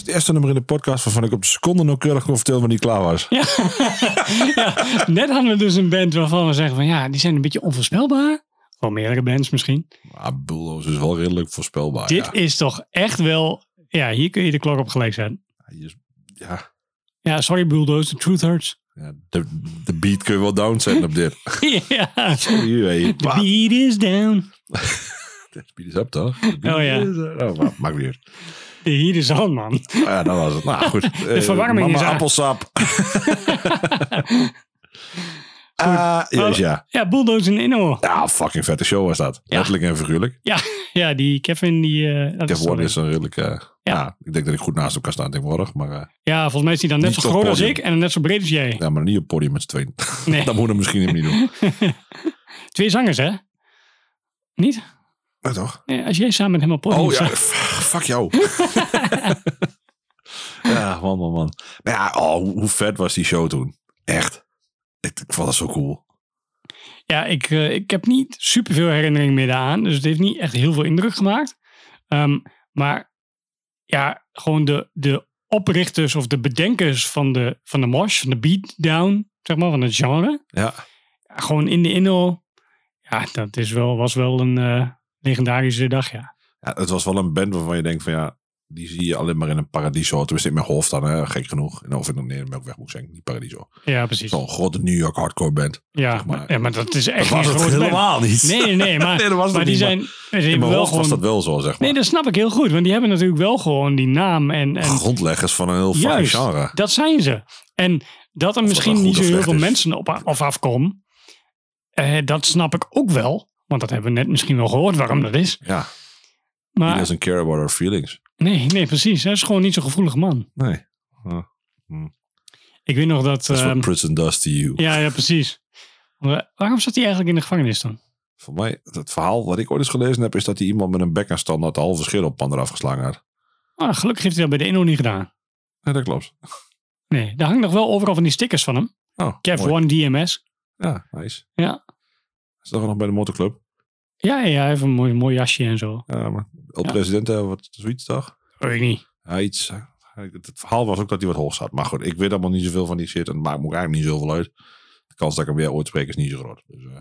Esther-nummer in de podcast waarvan ik op de seconde nauwkeurig kon vertellen wanneer die klaar was. Ja. ja, net hadden we dus een band waarvan we zeggen van ja, die zijn een beetje onvoorspelbaar. Wel meerdere bands misschien. Maar Bulldozer is wel redelijk voorspelbaar. Dit ja. is toch echt wel, ja, hier kun je de klok op gelijk zetten. Hij is- ja. Ja, sorry Bulldoze, the truth hurts. *laughs* Ja, de, de beat kun je wel downzetten op dit. ja, the Hier, hey, pa. beat is down, De beat is up, toch? De beat Oh, ja. is up. Oh, maar, maakt niet uit. the heat is on man. Ah, Ja, dat was het. Nou, goed. De verwarming mama is aan. *laughs* appelsap. Ah, jezus, ja. Ja, Bulldoze en Inno. Ja, fucking vette show was dat. Letterlijk en figuurlijk. Ja, ja, die Kevin die... eh, dat is Kevin Warren sorry. is een redelijk... eh, ja, ik denk dat ik goed naast hem kan staan tegenwoordig. Maar, eh, Ja, volgens mij is hij dan net Niet zo op groot als podium. ik en net zo breed als jij. ja, maar niet op het podium met z'n tweeën. *laughs* Nee. dat moet hij misschien helemaal niet doen. Twee zangers, hè? Niet? *laughs* Ja, toch? Nee, als jij samen met hem op podium Oh ja, staat. f- fuck *laughs* jou. ja, man, man, man. Maar ja, oh, hoe- hoe vet was die show toen? Echt. Ik, ik vond dat zo cool. Ja, ik, eh, ik heb niet superveel herinnering meer daaraan. Dus het heeft niet echt heel veel indruk gemaakt. Ehm, maar ja, gewoon de, de oprichters of de bedenkers van de, van de mosh, van de beatdown, zeg maar, van het genre. Ja. Ja, gewoon in de inno. Ja, dat is wel, was wel een eh, legendarische dag, ja. ja. Het was wel een band waarvan je denkt van ja, die zie je alleen maar in een paradiso. Tenminste, in mijn hoofd dan, hè, gek genoeg. En of in een melkweg moet ik zeggen, niet paradiso. Ja, precies. Zo'n grote New York hardcore band. Ja, zeg maar. ja, maar dat is echt *laughs* dat was geen het grote band. helemaal niet. Nee, nee, *laughs* nee, maar, Nee, dat was het maar die niet, maar zijn... ze in hebben mijn wel hoofd was dat gewoon, wel zo, zeg maar. nee, dat snap ik heel goed. Want die hebben natuurlijk wel gewoon die naam en, en Grondleggers van een heel fucking Juist, genre. dat zijn ze. En dat er dat misschien nou goed niet zo of heel slecht veel is. mensen op of afkomen, eh, dat snap ik ook wel. Want dat hebben we net misschien wel gehoord waarom dat is. Ja, he Maar doesn't care about our feelings. nee, nee, precies. Hij is gewoon niet zo'n gevoelig man. Nee, Ik weet nog dat... that's what ehm, prison does to you. ja, ja, precies. Maar Waarom zat hij eigenlijk in de gevangenis dan? Voor mij, het verhaal wat ik ooit eens gelezen heb, is dat hij iemand met een bekkenstand dat de halve schilderpan eraf geslagen had. Ah, gelukkig heeft hij dat bij de Inno niet gedaan. Ja, dat klopt. Nee, daar hangt nog wel overal van die stickers van hem. Oh, Kev mooi. One DMS. Ja, nice. Ja. Is dat nog bij de motorclub? Ja, ja, hij heeft een mooi, mooi jasje en zo. Ja, maar El Ja. Presidente, wat zoiets toch? Weet ik niet. Ja, iets. eh, Het het verhaal was ook dat hij wat hoog zat. Maar goed, ik weet allemaal niet zoveel van die shit. En het maakt me ook eigenlijk niet zoveel uit. De kans dat ik hem weer ooit spreek is niet zo groot. Dus eh,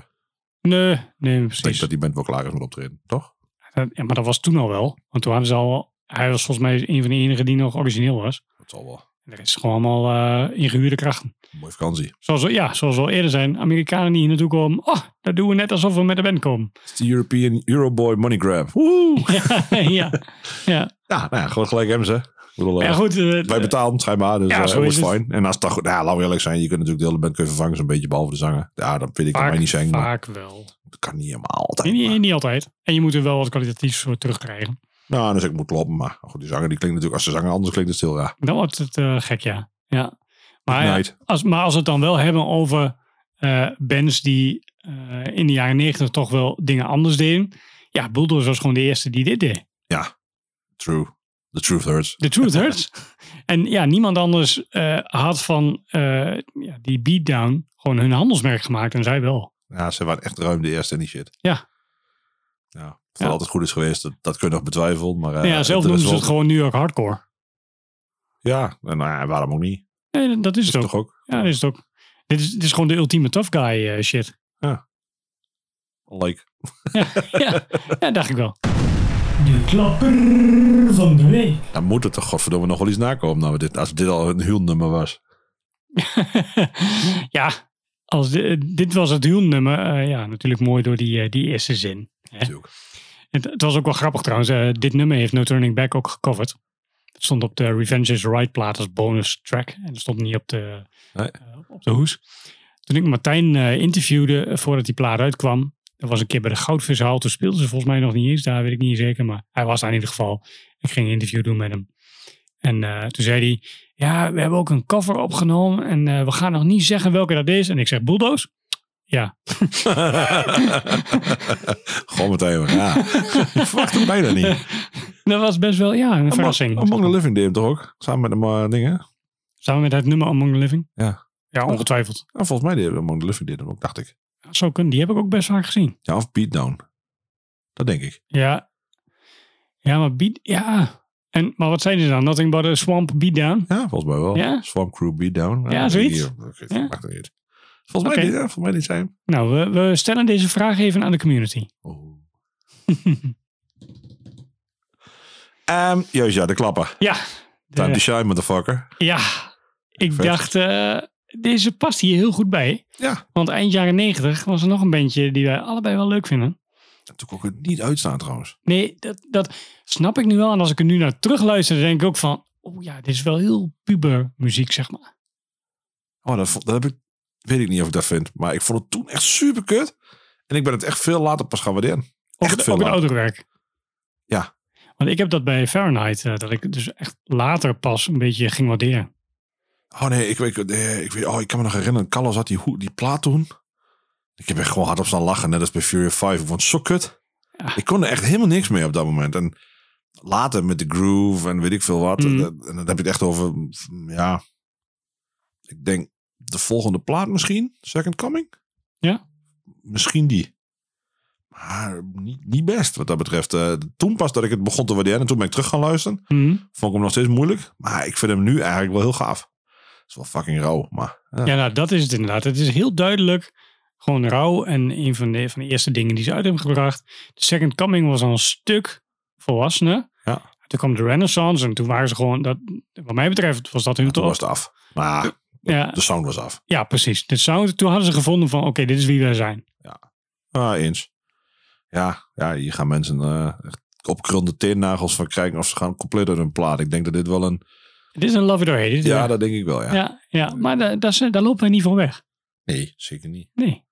Nee, nee, ik denk precies. dat die band wel klaar is met optreden, toch? Eh, Ja, maar dat was toen al wel. Want toen hadden ze al... Hij was volgens mij een van de enigen die nog origineel was. Dat zal wel. En de rest is gewoon allemaal eh ingehuurde krachten. Mooie vakantie. Zoals we, ja, zoals we al eerder zijn. Amerikanen die hier naartoe komen. Oh, dat doen we net alsof we met de band komen. Het is de European Euroboy Money Grab. Woe! *laughs* ja, *laughs* ja. Ja, nou ja, gewoon gelijk hem ze. Ik bedoel, eh, ja, goed. eh, Wij betalen schijnbaar, dus Ja, ja, zo was is het. fijn. En als het dan goed, nou, ja, laten we eerlijk zijn, je kunt natuurlijk de hele band kunnen vervangen, zo'n beetje behalve de zanger. Ja, dat vind ik aan mij niet zijn, maar vaak wel. dat kan niet helemaal Nee, altijd. niet, maar- niet altijd. En je moet er wel wat kwalitatiefs voor terugkrijgen. Nou, dus ik moet kloppen, maar goed, die zanger die klinkt natuurlijk, als de zanger anders klinkt, het stil, ja. Dan wordt het eh, gek, ja. ja. Maar, Ah, ja, Night. als, maar als we het dan wel hebben over eh, bands die eh, in de jaren negentig toch wel dingen anders deden. Ja, Bulldozer was gewoon de eerste die dit deed. True. The truth hurts. The truth *laughs* hurts. en ja, niemand anders eh, had van eh, ja, die beatdown gewoon hun handelsmerk gemaakt. En zij wel. Ja, ze waren echt ruim de eerste en die shit. Ja. Ja, of Ja. dat altijd goed is geweest, dat, dat kun je nog betwijfelen, maar... eh, Nou ja, zelf doen noemen ze het gewoon New York hardcore. Ja, en, nou ja, waarom ook niet? Nee, dat is Is het ook. toch ook? Ja, dat is het ook. Dit is, dit is gewoon de ultieme tough guy eh, *laughs* shit. Like. ja, ja, dacht ik wel. *laughs* De klapper van de week. Dan moet het toch godverdomme nog wel iets nakomen, nou, dit, als dit al een huwennummer was. ja, als de- dit was het huwennummer. eh, ja, natuurlijk mooi door die, eh, die eerste zin. Natuurlijk. *laughs* Het, het was ook wel grappig trouwens. eh, dit nummer heeft No Turning Back ook gecoverd. Het stond op de Revenge is Right plaat als bonus track. En dat stond niet op de, Nee. eh, op de hoes. Toen ik Martijn eh, interviewde eh, voordat die plaat uitkwam. Dat was een keer bij de Goudvishal. Toen speelden ze volgens mij nog niet eens. Daar weet ik niet zeker. Maar hij was daar in ieder geval. Ik ging een interview doen met hem. En eh, toen zei hij... Ja, we hebben ook een cover opgenomen. En eh, we gaan nog niet zeggen welke dat is. En ik zeg Bulldoze. Ja, Gewoon meteen, maar *laughs* ja. Ik verwacht het bijna niet. dat was best wel ja, een verrassing. Among the Living deed hem toch ook? Samen met de eh, dingen. Samen met het nummer Among the Living? Ja. Ja, ongetwijfeld. Ja, volgens mij deed Among the Living deed hem ook, dacht ik. Zo kunnen, die heb ik ook best vaak gezien. Ja, of Beatdown. Dat denk ik. Ja. Ja, maar Beat, ja. En, maar wat zei hij dan? Nothing but a swamp beatdown? Ja, volgens mij wel. Ja? Swamp Crew Beatdown. Ja, zoiets. Ja. Ja. Mag dat niet. Volgens Oké. mij, niet, ja, volgens mij niet *laughs* zijn. Nou, we, we stellen deze vraag even aan de community. Oh. Ehm, juist, ja, de klappen. Ja, Time de- to shine, motherfucker. ja. ik Vet. dacht, eh, deze past hier heel goed bij. Ja. Want eind jaren 90 was er nog een bandje die wij allebei wel leuk vinden. Toen kon ik het niet uitstaan trouwens. Nee, dat, dat snap ik nu wel. En als ik er nu naar terug luister, dan denk ik ook van... Oh ja, dit is wel heel puber muziek, zeg maar. Oh, dat, vond- dat heb ik, weet ik niet of ik dat vind. Maar ik vond het toen echt super kut. En ik ben het echt veel later pas gaan waarderen. Ook, Echt het, veel ook het later. oudere werk. Ja. Want ik heb dat bij Fahrenheit, eh, dat ik het dus echt later pas een beetje ging waarderen. Oh nee, ik, weet, nee, ik, weet, oh, ik kan me nog herinneren. Carlos had die, hoe- die plaat toen. Ik heb echt gewoon hard op staan lachen. Net als bij Fury 5. Ik vond het zo kut. Ja. Ik kon er echt helemaal niks mee op dat moment. En later met de groove en weet ik veel wat. Mm. En, en dan heb je het echt over, mm, ja... Ik denk de volgende plaat misschien. Second Coming. Ja. Misschien die. Maar niet, niet best wat dat betreft. Eh, toen pas dat ik het begon te waarderen. En toen ben ik terug gaan luisteren. Mhm. Vond ik hem nog steeds moeilijk. Maar ik vind hem nu eigenlijk wel heel gaaf. is wel fucking rauw, maar... Ja. Ja, nou, dat is het inderdaad. Het is heel duidelijk gewoon rauw. En een van de, van de eerste dingen die ze uit hebben gebracht. De Second Coming was al een stuk volwassener. Ja. Toen kwam de Renaissance en toen waren ze gewoon, dat, wat mij betreft, was dat hun Toen top. was het af. Maar Ja, de sound was af. ja, precies. De sound, toen hadden ze gevonden van, oké, dit is wie wij zijn. Ah, eens. Ja, ja, hier gaan mensen eh echt opkrullende teennagels van krijgen of ze gaan compleet uit hun plaat. Ik denk dat dit wel een... Dit is een love it or hate it. Ja, dat denk ik wel, ja. ja, ja, maar da, daar zijn- daar lopen we niet van weg. Nee, zeker niet. Nee.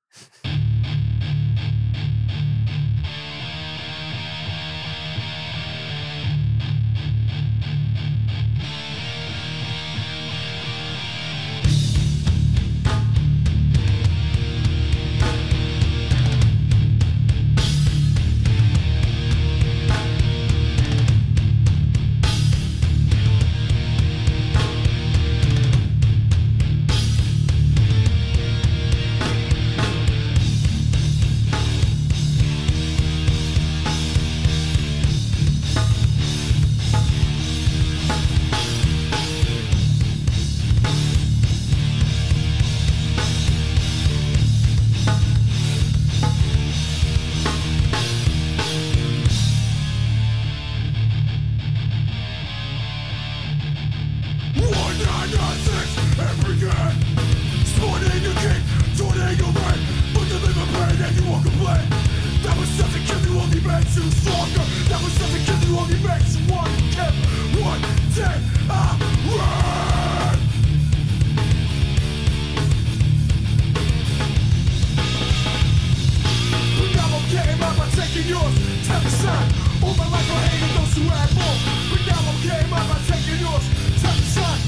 Taking yours, time to shine. All my life I hated those who had more, but now I'm came up by taking yours, time to shine.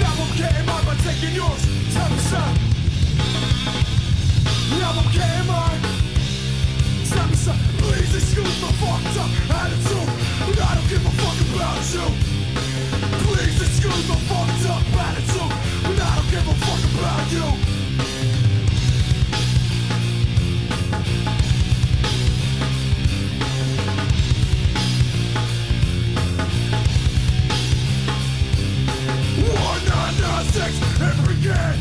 Now I'm getting mine by taking yours. Time to shine. Now I'm getting mine. Time to shine. Please excuse my fucked up attitude, but I don't give a fuck about you. Please excuse my fucked up attitude, but I don't give a fuck about you. One nine six every game.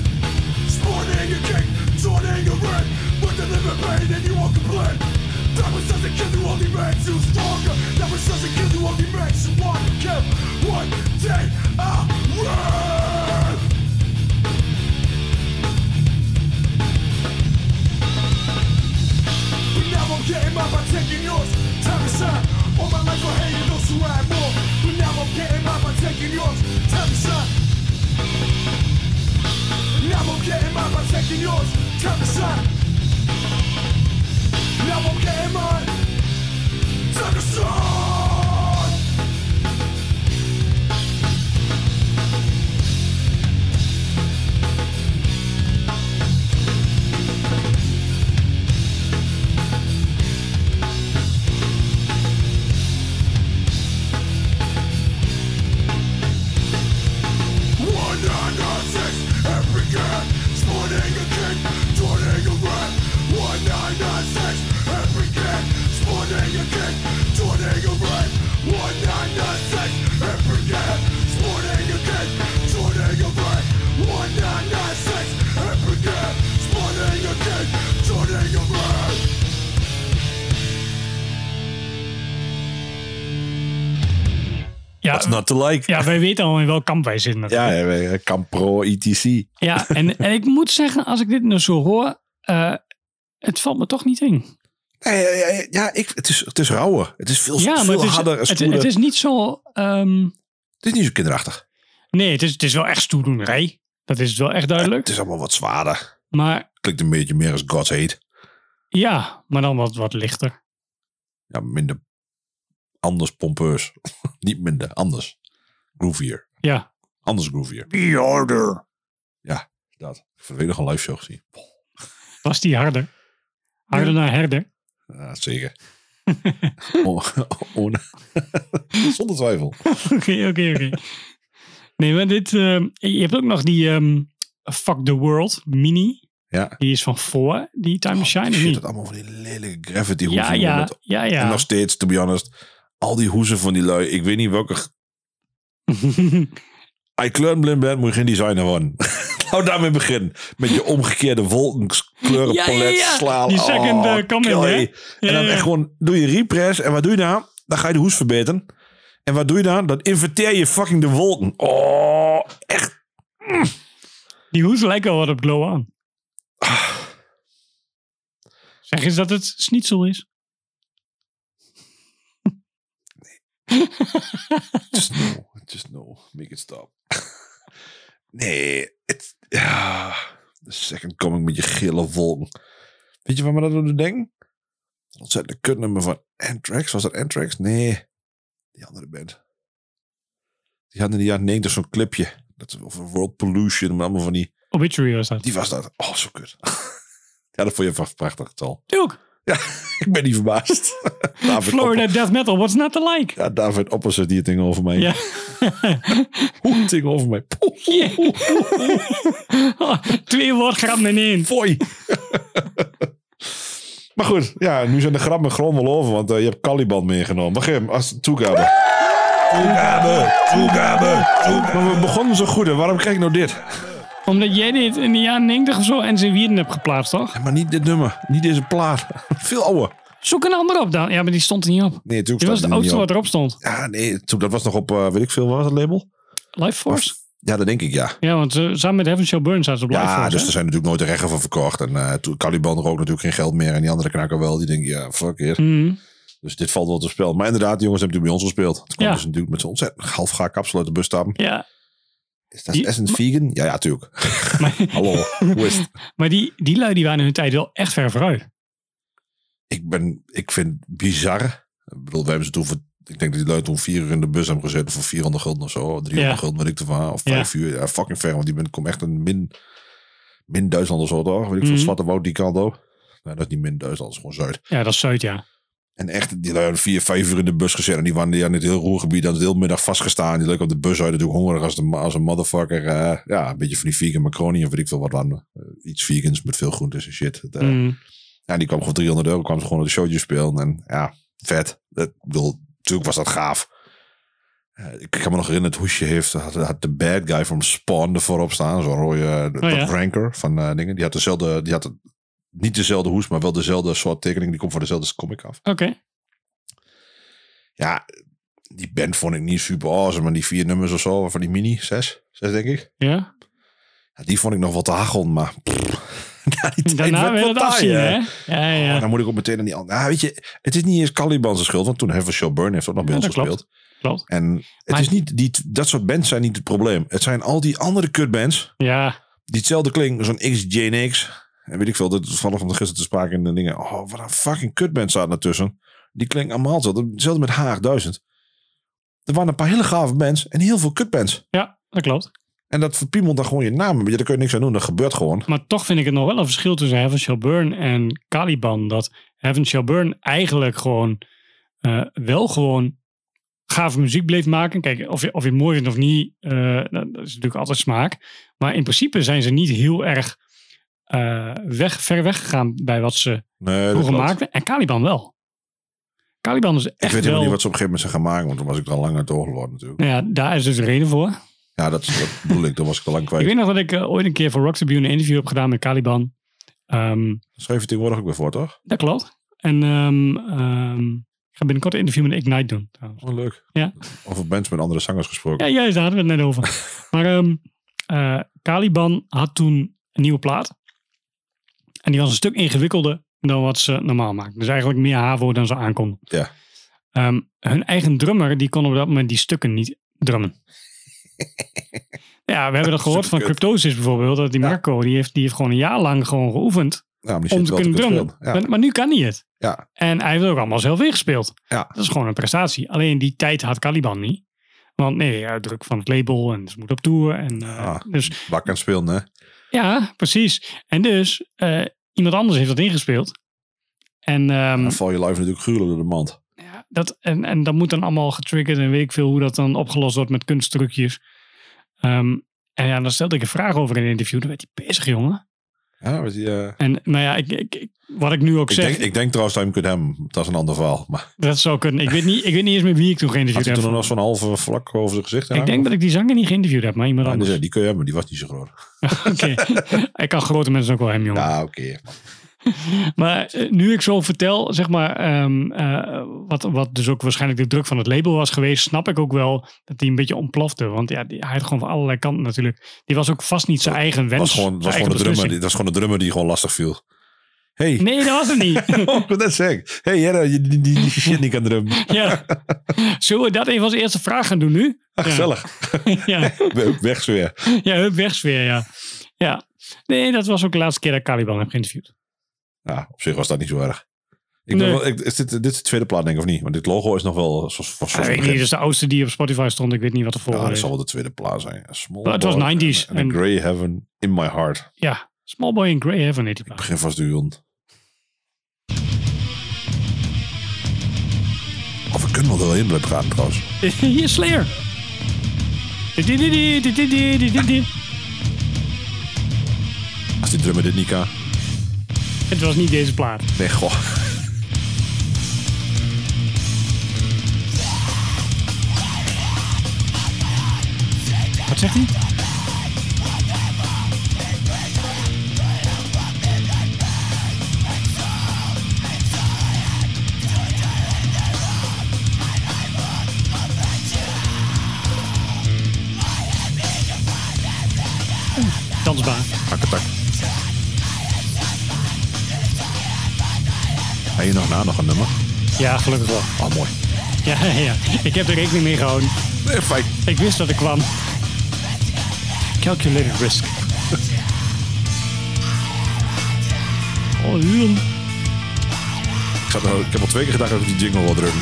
Sporting your kick, joining your ring. With the living pain and you won't complain. That was doesn't kill you, only makes you stronger. That was doesn't kill you, only makes you want to kill. One day I will. But now I'm getting mine by taking yours. Time to shine. All my life I hated those who had more. But now I'm getting mine by taking yours. Time to shine. Now I'm getting mine by taking yours. Time to shine. Now I'm getting mine. Time to shine. One nine nine six every gun, sporting a king, joining a rat. One nine nine six every gun, sporting a king, joining a rat. What's not to like? Ja, wij weten al in welk kamp wij zitten. natuurlijk. Ja, ja, ja, Campro, E ETC. Ja, en, en ik moet zeggen, als ik dit nou zo hoor, eh, het valt me toch niet in. Nee, ja, ja, ja, ja, ik, het, is, het is rauwer. Het is veel, Ja, maar veel het is, harder en het, stoerder. het is niet zo... ehm, het is niet zo kinderachtig. nee, het is, het is wel echt stoerdoenerij. Dat is wel echt Het duidelijk. is allemaal wat zwaarder. Maar Klinkt een beetje meer als God's Hate. ja, maar dan wat, wat lichter. Ja, minder anders pompeus. *laughs* niet minder, anders. Groovier. Ja, Anders groovier. Be harder. Ja, dat. Ik heb er weer nog een live show gezien. was die harder? Harder naar herder? *laughs* Ja, zeker. Oh, O- o- *laughs* Zonder twijfel. Oké, oké, *laughs* oké. Nee, maar dit... ehm, je hebt ook nog die ehm, Fuck the World mini. Ja. Die is van voor die Time to Shine. of Oh, Shit, niet? dat allemaal van die lelijke gravity hoeven. Ja, ja, ja, En ja. nog steeds, to be honest, al die hoezen van die lui. Ik weet niet welke *laughs* Als je kleurenblind bent, moet je geen designer worden. *laughs* Hou daarmee beginnen. Met je omgekeerde wolkenkleurenpalet Ja, ja, ja. slaan. Die second, eh, comment, kill hè? je. Oh, En dan ja. echt gewoon, doe je repress. En wat doe je dan? Dan ga je de hoes verbeteren. En wat doe je dan? Dan inverteer je fucking de wolken. Oh, echt. Die hoes lijkt wel wat op Glow aan. Ah. Zeg eens dat het schnitzel is. Just no, just no. Make it stop. *laughs* nee, het... Ja, de second coming met je gele wolken. Weet je waar me dat aan doet denken? Dat ontzettende kutnummer van Anthrax. Was dat Anthrax? Nee, die andere band. Die hadden in de jaren 90 zo'n clipje. Dat is over world pollution, maar allemaal van die... Obituary was dat. Die was dat. Oh, zo kut. *laughs* ja, dat vond je van prachtig, Tal. Ook. Ja, ik ben niet verbaasd. *laughs* David Florida Death Metal, what's not to like? *laughs* Opper- ja, David Oppersen die het ding over mij. Ja. *laughs* Hoe het ding over mij. Poeh. Oh, Twee woordgrappen in één. Fooi. *laughs* maar goed, ja, nu zijn de grappen gewoon wel over, want eh, je hebt Caliban meegenomen. Maar Grim, als toegabe. Toegabe, toegabe, Maar we begonnen zo goed, en waarom krijg ik nou dit? Omdat jij dit in de jaren 90 of zo en ze Wierden hebt geplaatst, toch? Ja, maar niet dit nummer, niet deze plaat. *laughs* Veel ouder. Zoek een ander op dan. Ja, maar die stond er niet op. Nee, natuurlijk Dit staat was het die er niet oudste wat op. erop stond. Ja, nee, toen, dat was nog op, eh, weet ik veel, wat was het label? Life Force? Ja, dat denk ik, ja. Ja, want eh, samen met Heaven Shall Burn zaten ze op Life Ja, Force. dus hè? er zijn natuurlijk nooit de rechten van verkocht. En eh, toen Caliban rookt natuurlijk geen geld meer. En die andere knakker wel. Die denken, ja, fuck it. Mhm. Dus dit valt wel te spel. Maar inderdaad, die jongens hebben toen bij ons gespeeld. Toen kwamen Ja. ze natuurlijk met zo'n ontzettend half gaar kapsel uit de bus stappen. Ja, *laughs* Is dat Die- essence vegan? Ja, ja, tuurlijk. maar, *laughs* Hallo, hoe is het? maar die, die lui die waren in hun tijd wel echt ver vooruit. Ik, ben, ik vind het bizar. Ik bedoel, wij hebben ze toen voor... Ik denk dat die lui toen vier uur in de bus hebben gezeten voor 400 gulden of zo. 300 Ja. gulden, weet ik ervan. Of vijf uur. Ja, fucking ver. Want die ben, komt echt een min, min Duitsland of zo, toch? Weet ik Mhm. van Zwarte Woud, die kant ook. Nou, dat is niet min Duitsland, dat is gewoon Zuid. Ja, dat is Zuid, ja. En echt, die lui hadden vier, vijf uur in de bus gezet. En die waren die aan het heel roergebied aan het heel middag vastgestaan. Die leuk op de bus uit. Natuurlijk hongerig als, de, ma- als een motherfucker. eh, ja, een beetje van die vegan macaroni en weet ik veel wat dan. Eh, iets vegans met veel groentes en shit. Het, eh, Mhm. Ja, die kwam gewoon 300 euro. kwam ze gewoon op de showtje spelen. En ja, vet. Dat, ik bedoel, natuurlijk was dat gaaf. Eh, ik kan me nog herinneren, het hoesje heeft, had, had de bad guy van Spawn ervoor op staan. Zo'n rode eh, de- Oh ja. dat ranker van eh, dingen. Die had dezelfde, die had een- niet dezelfde hoes, maar wel dezelfde soort tekening. Die komt van dezelfde comic af Oké. ja, die band vond ik niet super awesome. Maar die vier nummers of zo, van die mini, zes, zes denk ik. Ja. Ja, die vond ik nog wel te hagelen, maar... pff, *laughs* na die tijd Daarna werd wil je wel het taai, afzien, hè. hè? Ja, Oh, ja. dan moet ik ook meteen aan die andere... Ja, weet je, het is niet eens Caliban zijn schuld, want toen Heaven Shall Burn heeft ook nog bij Ja, ons dat klopt. gespeeld. Klopt. En het Maar- is niet, die, dat soort bands zijn niet het probleem. Het zijn al die andere kutbands Ja. die hetzelfde klinken, zo'n XJNX. En weet ik veel, dat is toevallig van gisteren te sprake in de dingen. Oh, wat een fucking kutband staat ertussen. Die klinken allemaal hetzelfde. Hetzelfde met Haag 1000. Er waren een paar hele gave bands en heel veel kutbands. ja, dat klopt. En dat verpiemelt dan gewoon je naam. Maar ja, daar kun je niks aan doen, dat gebeurt gewoon. Maar toch vind ik het nog wel een verschil tussen Heaven Shall Burn en Caliban. Dat Heaven Shall Burn eigenlijk gewoon eh, wel gewoon gave muziek bleef maken. Kijk, of je, of je het mooi vindt of niet, eh, dat dat is natuurlijk altijd smaak. Maar in principe zijn ze niet heel erg eh, weg, ver weggegaan bij wat ze Nee, dat vroeger klopt. maakten. En Caliban wel. Caliban is echt Ik weet wel... helemaal niet wat ze op een gegeven moment zijn gaan maken, want toen was ik er al lang naar het oog geworden natuurlijk. Nou ja, daar is dus een reden voor. Ja, dat, dat bedoel ik, toen was ik al lang Ik kwijt. weet nog dat ik eh, ooit een keer voor Rock Tribune een interview heb gedaan met Caliban. Ehm, Schreef je tegenwoordig ook weer voor, toch? dat klopt. En ehm, ehm, ga binnenkort een interview met Ignite doen. trouwens. Oh, leuk. Ja. Over bands met andere zangers gesproken. Ja, juist, daar hadden we het net over. *laughs* maar ehm, eh, Caliban had toen een nieuwe plaat. En die was een stuk ingewikkelder dan wat ze normaal maakten. Dus eigenlijk meer HAVO dan ze aankonden. Ja. Ehm, hun eigen drummer, die kon op dat moment die stukken niet *laughs* drummen. ja, we hebben dat gehoord van Superkut. Cryptosis bijvoorbeeld. Dat die Ja. Marco, die heeft, die heeft gewoon een jaar lang gewoon geoefend Ja, maar die om zit te wel kunnen drummen. spelen. Ja. Maar, maar nu kan hij het. Ja. En hij heeft het ook allemaal zelf ingespeeld. Ja. Dat is gewoon een prestatie. Alleen die tijd had Caliban niet. Want nee, ja, druk van het label en ze moet op tour. En, eh, Ah. Dus Bak aan het spelen, hè? Mm. ja, precies. En dus eh, iemand anders heeft dat ingespeeld. En, ehm, Dan val je live natuurlijk gruwelijk door de mand. ja, dat, en, en dat moet dan allemaal getriggerd en weet ik veel hoe dat dan opgelost wordt met kunstdrukjes. Ehm, en ja, dan stelde ik een vraag over in een interview. Dan werd hij pissig, jongen. Ja, weet je, eh, En nou ja, ik, ik, ik- wat ik nu ook ik, zeg, denk, ik denk trouwens dat je hem kunt hebben. Dat is een ander verhaal. Maar dat zou kunnen. Ik weet, niet, ik weet niet eens meer wie ik toen had geïnterviewd hij heb. toen nog zo'n halve vlak over zijn gezicht? Ik denk dat ik die zanger niet geïnterviewd heb, maar iemand Ja, die, anders. zei, die kun je hebben, die was niet zo groot. Oké. *laughs* ik kan grote mensen ook wel hem, jongen. Ja, oké. Maar eh, nu ik zo vertel, zeg maar, ehm, eh, wat, wat dus ook waarschijnlijk de druk van het label was geweest, snap ik ook wel dat hij een beetje ontplofte. Want ja, die, hij had gewoon van allerlei kanten natuurlijk. Die was ook vast niet zijn eigen wens. Dat was gewoon, zijn was gewoon de eigen drummer, die, beslissing. dat was gewoon de drummer die gewoon lastig viel. Hé, hey, Nee, dat was het niet. oh, *laughs* dat zeg ik. Hé, hey, Jera, je- die, die, die shit niet kan drummen. ja. Zullen we dat even als eerste vraag gaan doen nu? *laughs* Ah, Ja. gezellig. ja. We- Weg zo weer. ja, hup, wegsfeer, ja. Ja. Nee, dat was ook de laatste keer dat ik Caliban heb geïnterviewd. Ja, op zich was dat niet zo erg. Ik ben Nee. wel, ik, is dit, dit is de tweede plaat, denk ik, of niet? Want dit logo is nog wel... Zoals, zoals ik weet begin. niet, dat is de oudste die op Spotify stond. Ik weet niet wat de Ja, volgende dat is. zal wel de tweede plaat zijn. A Small Maar het was Boy 90s And, and a en- Grey Heaven in My Heart. Ja, Small Boy in Grey Heaven heet die plaat. *laughs* Begin vast duwen. Of Oh, we kunnen wel in blijven gaan, trouwens. Hier is Slayer. Als die drummer dit niet kan. Het was niet deze plaat. Nee, goh. *laughs* Wat zegt hij? Oeh, Dansbaar. Hakketak. Heb je nog na nog een nummer? Ja, gelukkig wel. Ah, mooi. *laughs* Ja, ja, ja. Ik heb er rekening mee gehouden. Nee, fijn. Ik wist dat ik kwam. Calculated risk. *laughs* Oh, huren. Ik, zat er- ik heb al twee keer gedacht dat ik die jingle wil drukken.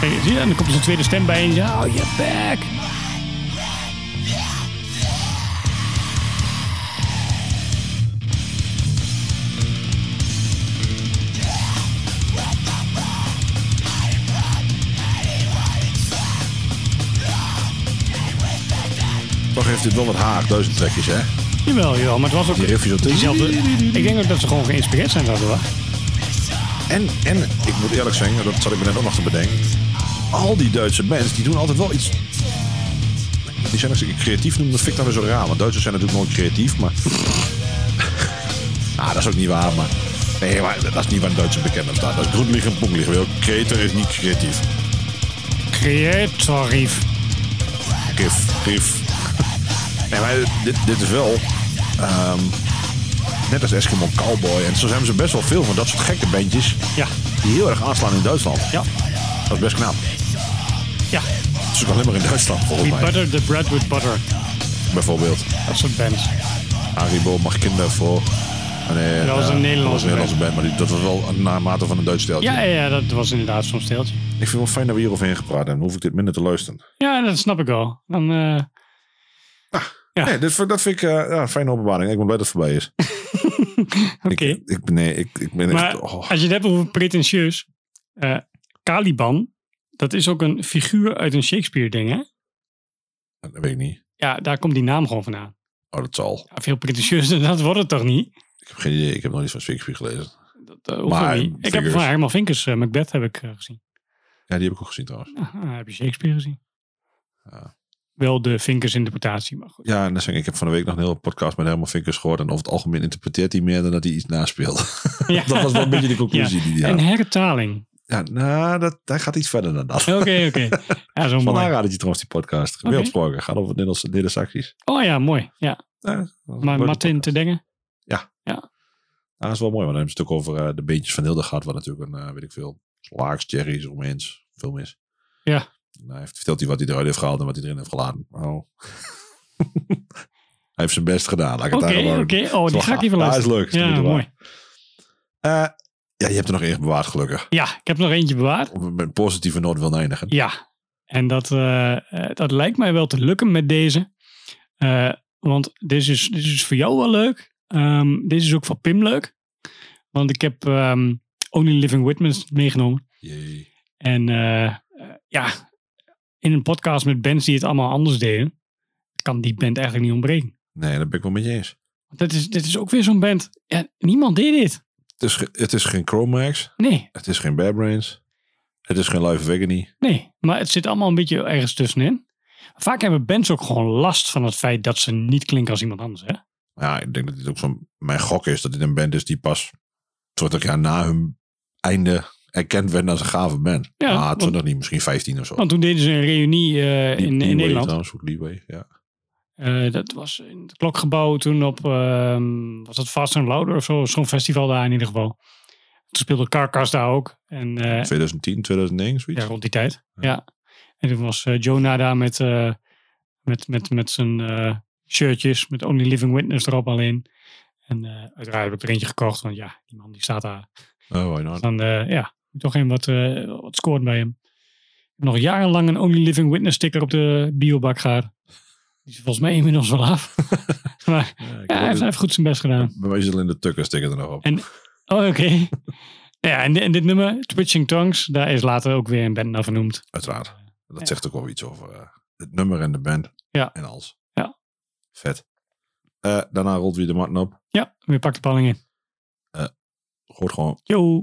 Hey, zie je? En dan komt er een tweede stem bij en je oh, je back. *laughs* Toch heeft dit wel wat haar, duizend trekjes, hè? Jawel, jawel, maar het was ook Die riffjes op de- diezelfde. Ik denk ook dat ze gewoon geïnspireerd zijn daardoor. En, en, ik moet eerlijk zeggen, dat zat ik me net ook nog te bedenken. Al die Duitse bands, die doen altijd wel iets... Die zijn als ik creatief noem, dat vind ik dan weer zo raar. Want Duitsers zijn natuurlijk nooit creatief, maar... ah, dat is ook niet waar, maar... Nee, maar dat is niet waar een Duitse bekend op staat. Dat is goed liggen, boek liggen. Wel, Creator is niet creatief. Creatorief. Gif, gif. Nee, maar dit, dit is wel... ehm, net als Eskimo Cowboy. En zo zijn ze best wel veel van dat soort gekke bandjes... Ja, die heel erg aanslaan in Duitsland. ja, Dat is best knap. ja. Het is ook alleen maar in Duitsland, volgens We mij. butter the bread with butter. Bijvoorbeeld. Dat soort bands. Haribo mag kinderen voor. Ah, nee, Dat was eh, een Nederlandse dat was Nederlandse band. Maar die, dat was wel een naarmate van een Duits steltje. Ja, ja, ja, dat was inderdaad zo'n steeltje. Ik vind het wel fijn dat we hierover heen gepraat hebben. Dan hoef ik dit minder te luisteren. Ja, dat snap ik wel. Dan, eh, Ja. Nee, dit, vind- dat vind ik eh, ja, een fijne openbaring. Ik ben blij dat het voorbij is. Oké. Ik, ik, nee, ik, ik ben Maar echt... oh. als je het hebt over pretentieus. eh, Caliban, dat is ook een figuur uit een Shakespeare-ding, hè? dat weet ik niet. Ja, daar komt die naam gewoon vandaan. Oh, dat zal. Ja, veel pretentieuzer dan *laughs* dat wordt het toch niet? Ik heb geen idee. Ik heb nog niet van Shakespeare gelezen. Dat, eh, hoeft Maar, ook niet. Ik heb figures. van Herman Vinkers, eh, Macbeth heb ik eh, gezien. eh, Ja, die heb ik ook gezien trouwens. Ah, heb je Shakespeare gezien? Ja. wel de vinkers interpretatie. Maar *laughs* goed. Ja, en dat zeg ik, ik heb van de week nog een hele podcast met Herman Vinkers gehoord. En over het algemeen interpreteert hij meer dan dat hij iets naspeelt. Ja. *laughs* dat was wel een beetje de conclusie die hij En had. hertaling. Ja, nou, dat, hij gaat iets verder dan dat. Oké, *laughs* oké. Ja, zo Van mooi. aanraden je trouwens die podcast. Oké. Wereldsproken. Gaat over Nederlandse Nederlandse Oh ja, mooi. Ja. acties. Maar Martin te denken. Ja, dat Ah, is wel mooi, want dan hebben ze het ook over eh, de beentjes van Hilde gehad. Wat natuurlijk een, eh, weet ik veel, slaaks, cherries, romeins, veel mis. Ja. En hij heeft, vertelt hij wat hij eruit heeft gehaald en wat hij erin heeft gelaten. Oh. *laughs* hij heeft zijn best gedaan, laat ik het Oké, daar oké. gewoon. Oh, die ga ik even Dat luisteren. is leuk. is de Ja, moeite waard. mooi. Eh, ja, je hebt er nog eentje bewaard, gelukkig. Ja, ik heb nog eentje bewaard. Om het met een positieve noot wil eindigen. Ja, en dat, eh, eh, dat lijkt mij wel te lukken met deze. Eh, want dit is, dit is voor jou wel leuk. Ehm dit is ook voor Pim leuk. Want ik heb ehm, Only Living Witness meegenomen. Jee. En eh, eh, ja, in een podcast met bands die het allemaal anders deden, kan die band eigenlijk niet ontbreken. Nee, dat ben ik wel met je eens. Want dit is, dit is ook weer zo'n band. Ja, niemand deed dit. Het is, ge- het is geen Chromax. Nee, Het is geen Bad Brains. Het is geen Live Agony. Nee, maar het zit allemaal een beetje ergens tussenin. Vaak hebben bands ook gewoon last van het feit dat ze niet klinken als iemand anders. Hè? Ja, ik denk dat dit ook zo'n... Mijn gok is dat dit een band is die pas 20 jaar na hun einde erkend werd als een gave band. Ja, ah, want- 20 niet, misschien 15 of zo. Want toen deden ze een reunie eh, Die- in, in die way Nederland. Trouwens, ook Leeway, ja. Eh, dat was in het klokgebouw toen op, ehm, was dat Fast and Louder of zo? Zo'n festival daar in ieder geval. Toen speelde Carcass daar ook. En eh, 2010, 2009, zoiets. ja, rond die tijd. Ja. Ja. En toen was eh, Jonah daar met, eh, met, met, met zijn eh, shirtjes met Only Living Witness erop alleen. En eh, uiteraard heb ik er eentje gekocht, want ja, die man die staat daar Oh, why not? Dan eh, ja, moet toch even wat, eh, wat scoort bij hem. Ik heb nog jarenlang een Only Living Witness sticker op de biobak gehad. Die is volgens mij inmiddels wel af. *laughs* maar Ja, ja, hij ik hoor heeft, hij dit. heeft goed zijn best gedaan. Bij mij is het alleen de tukker stikken er nog op. En- Oh, oké. ja, en, di- en dit nummer, Twitching Tongues, daar is later ook weer een band naar vernoemd. Uiteraard. Dat Ja. zegt ook wel iets over eh, het nummer en de band. Ja. En alles. Ja. Vet. Eh, daarna rolt weer de matten op. Ja, weer pak de palling in. Gooit gewoon Yo!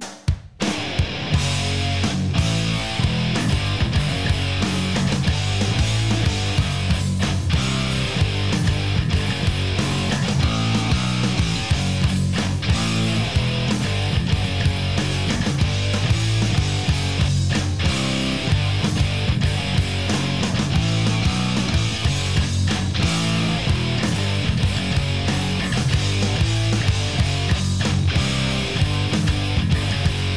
Tonight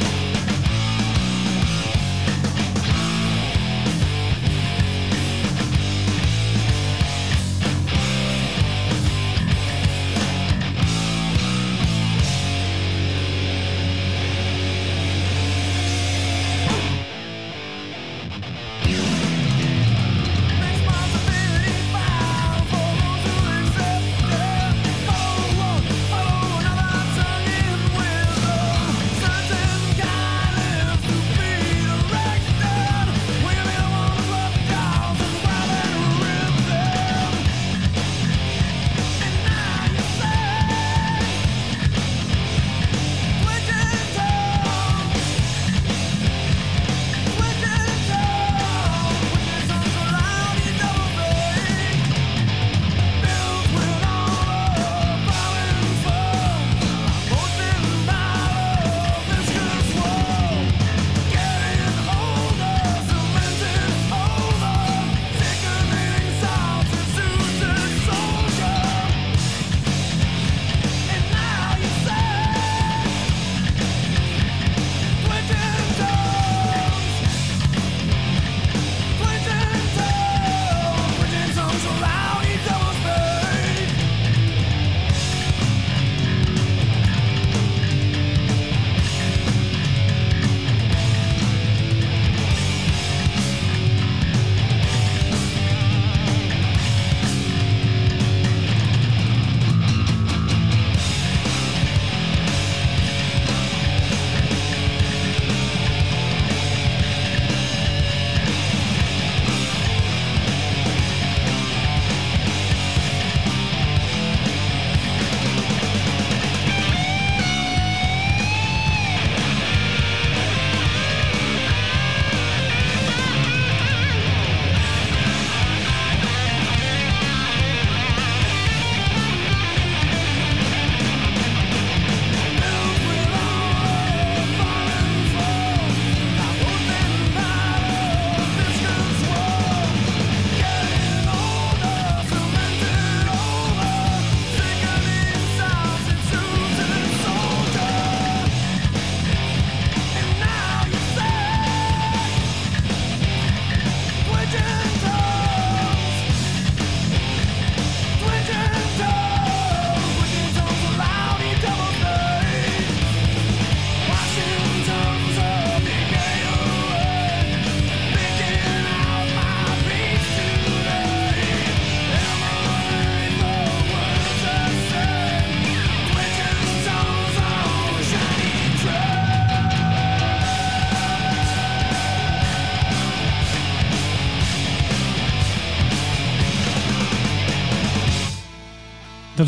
dat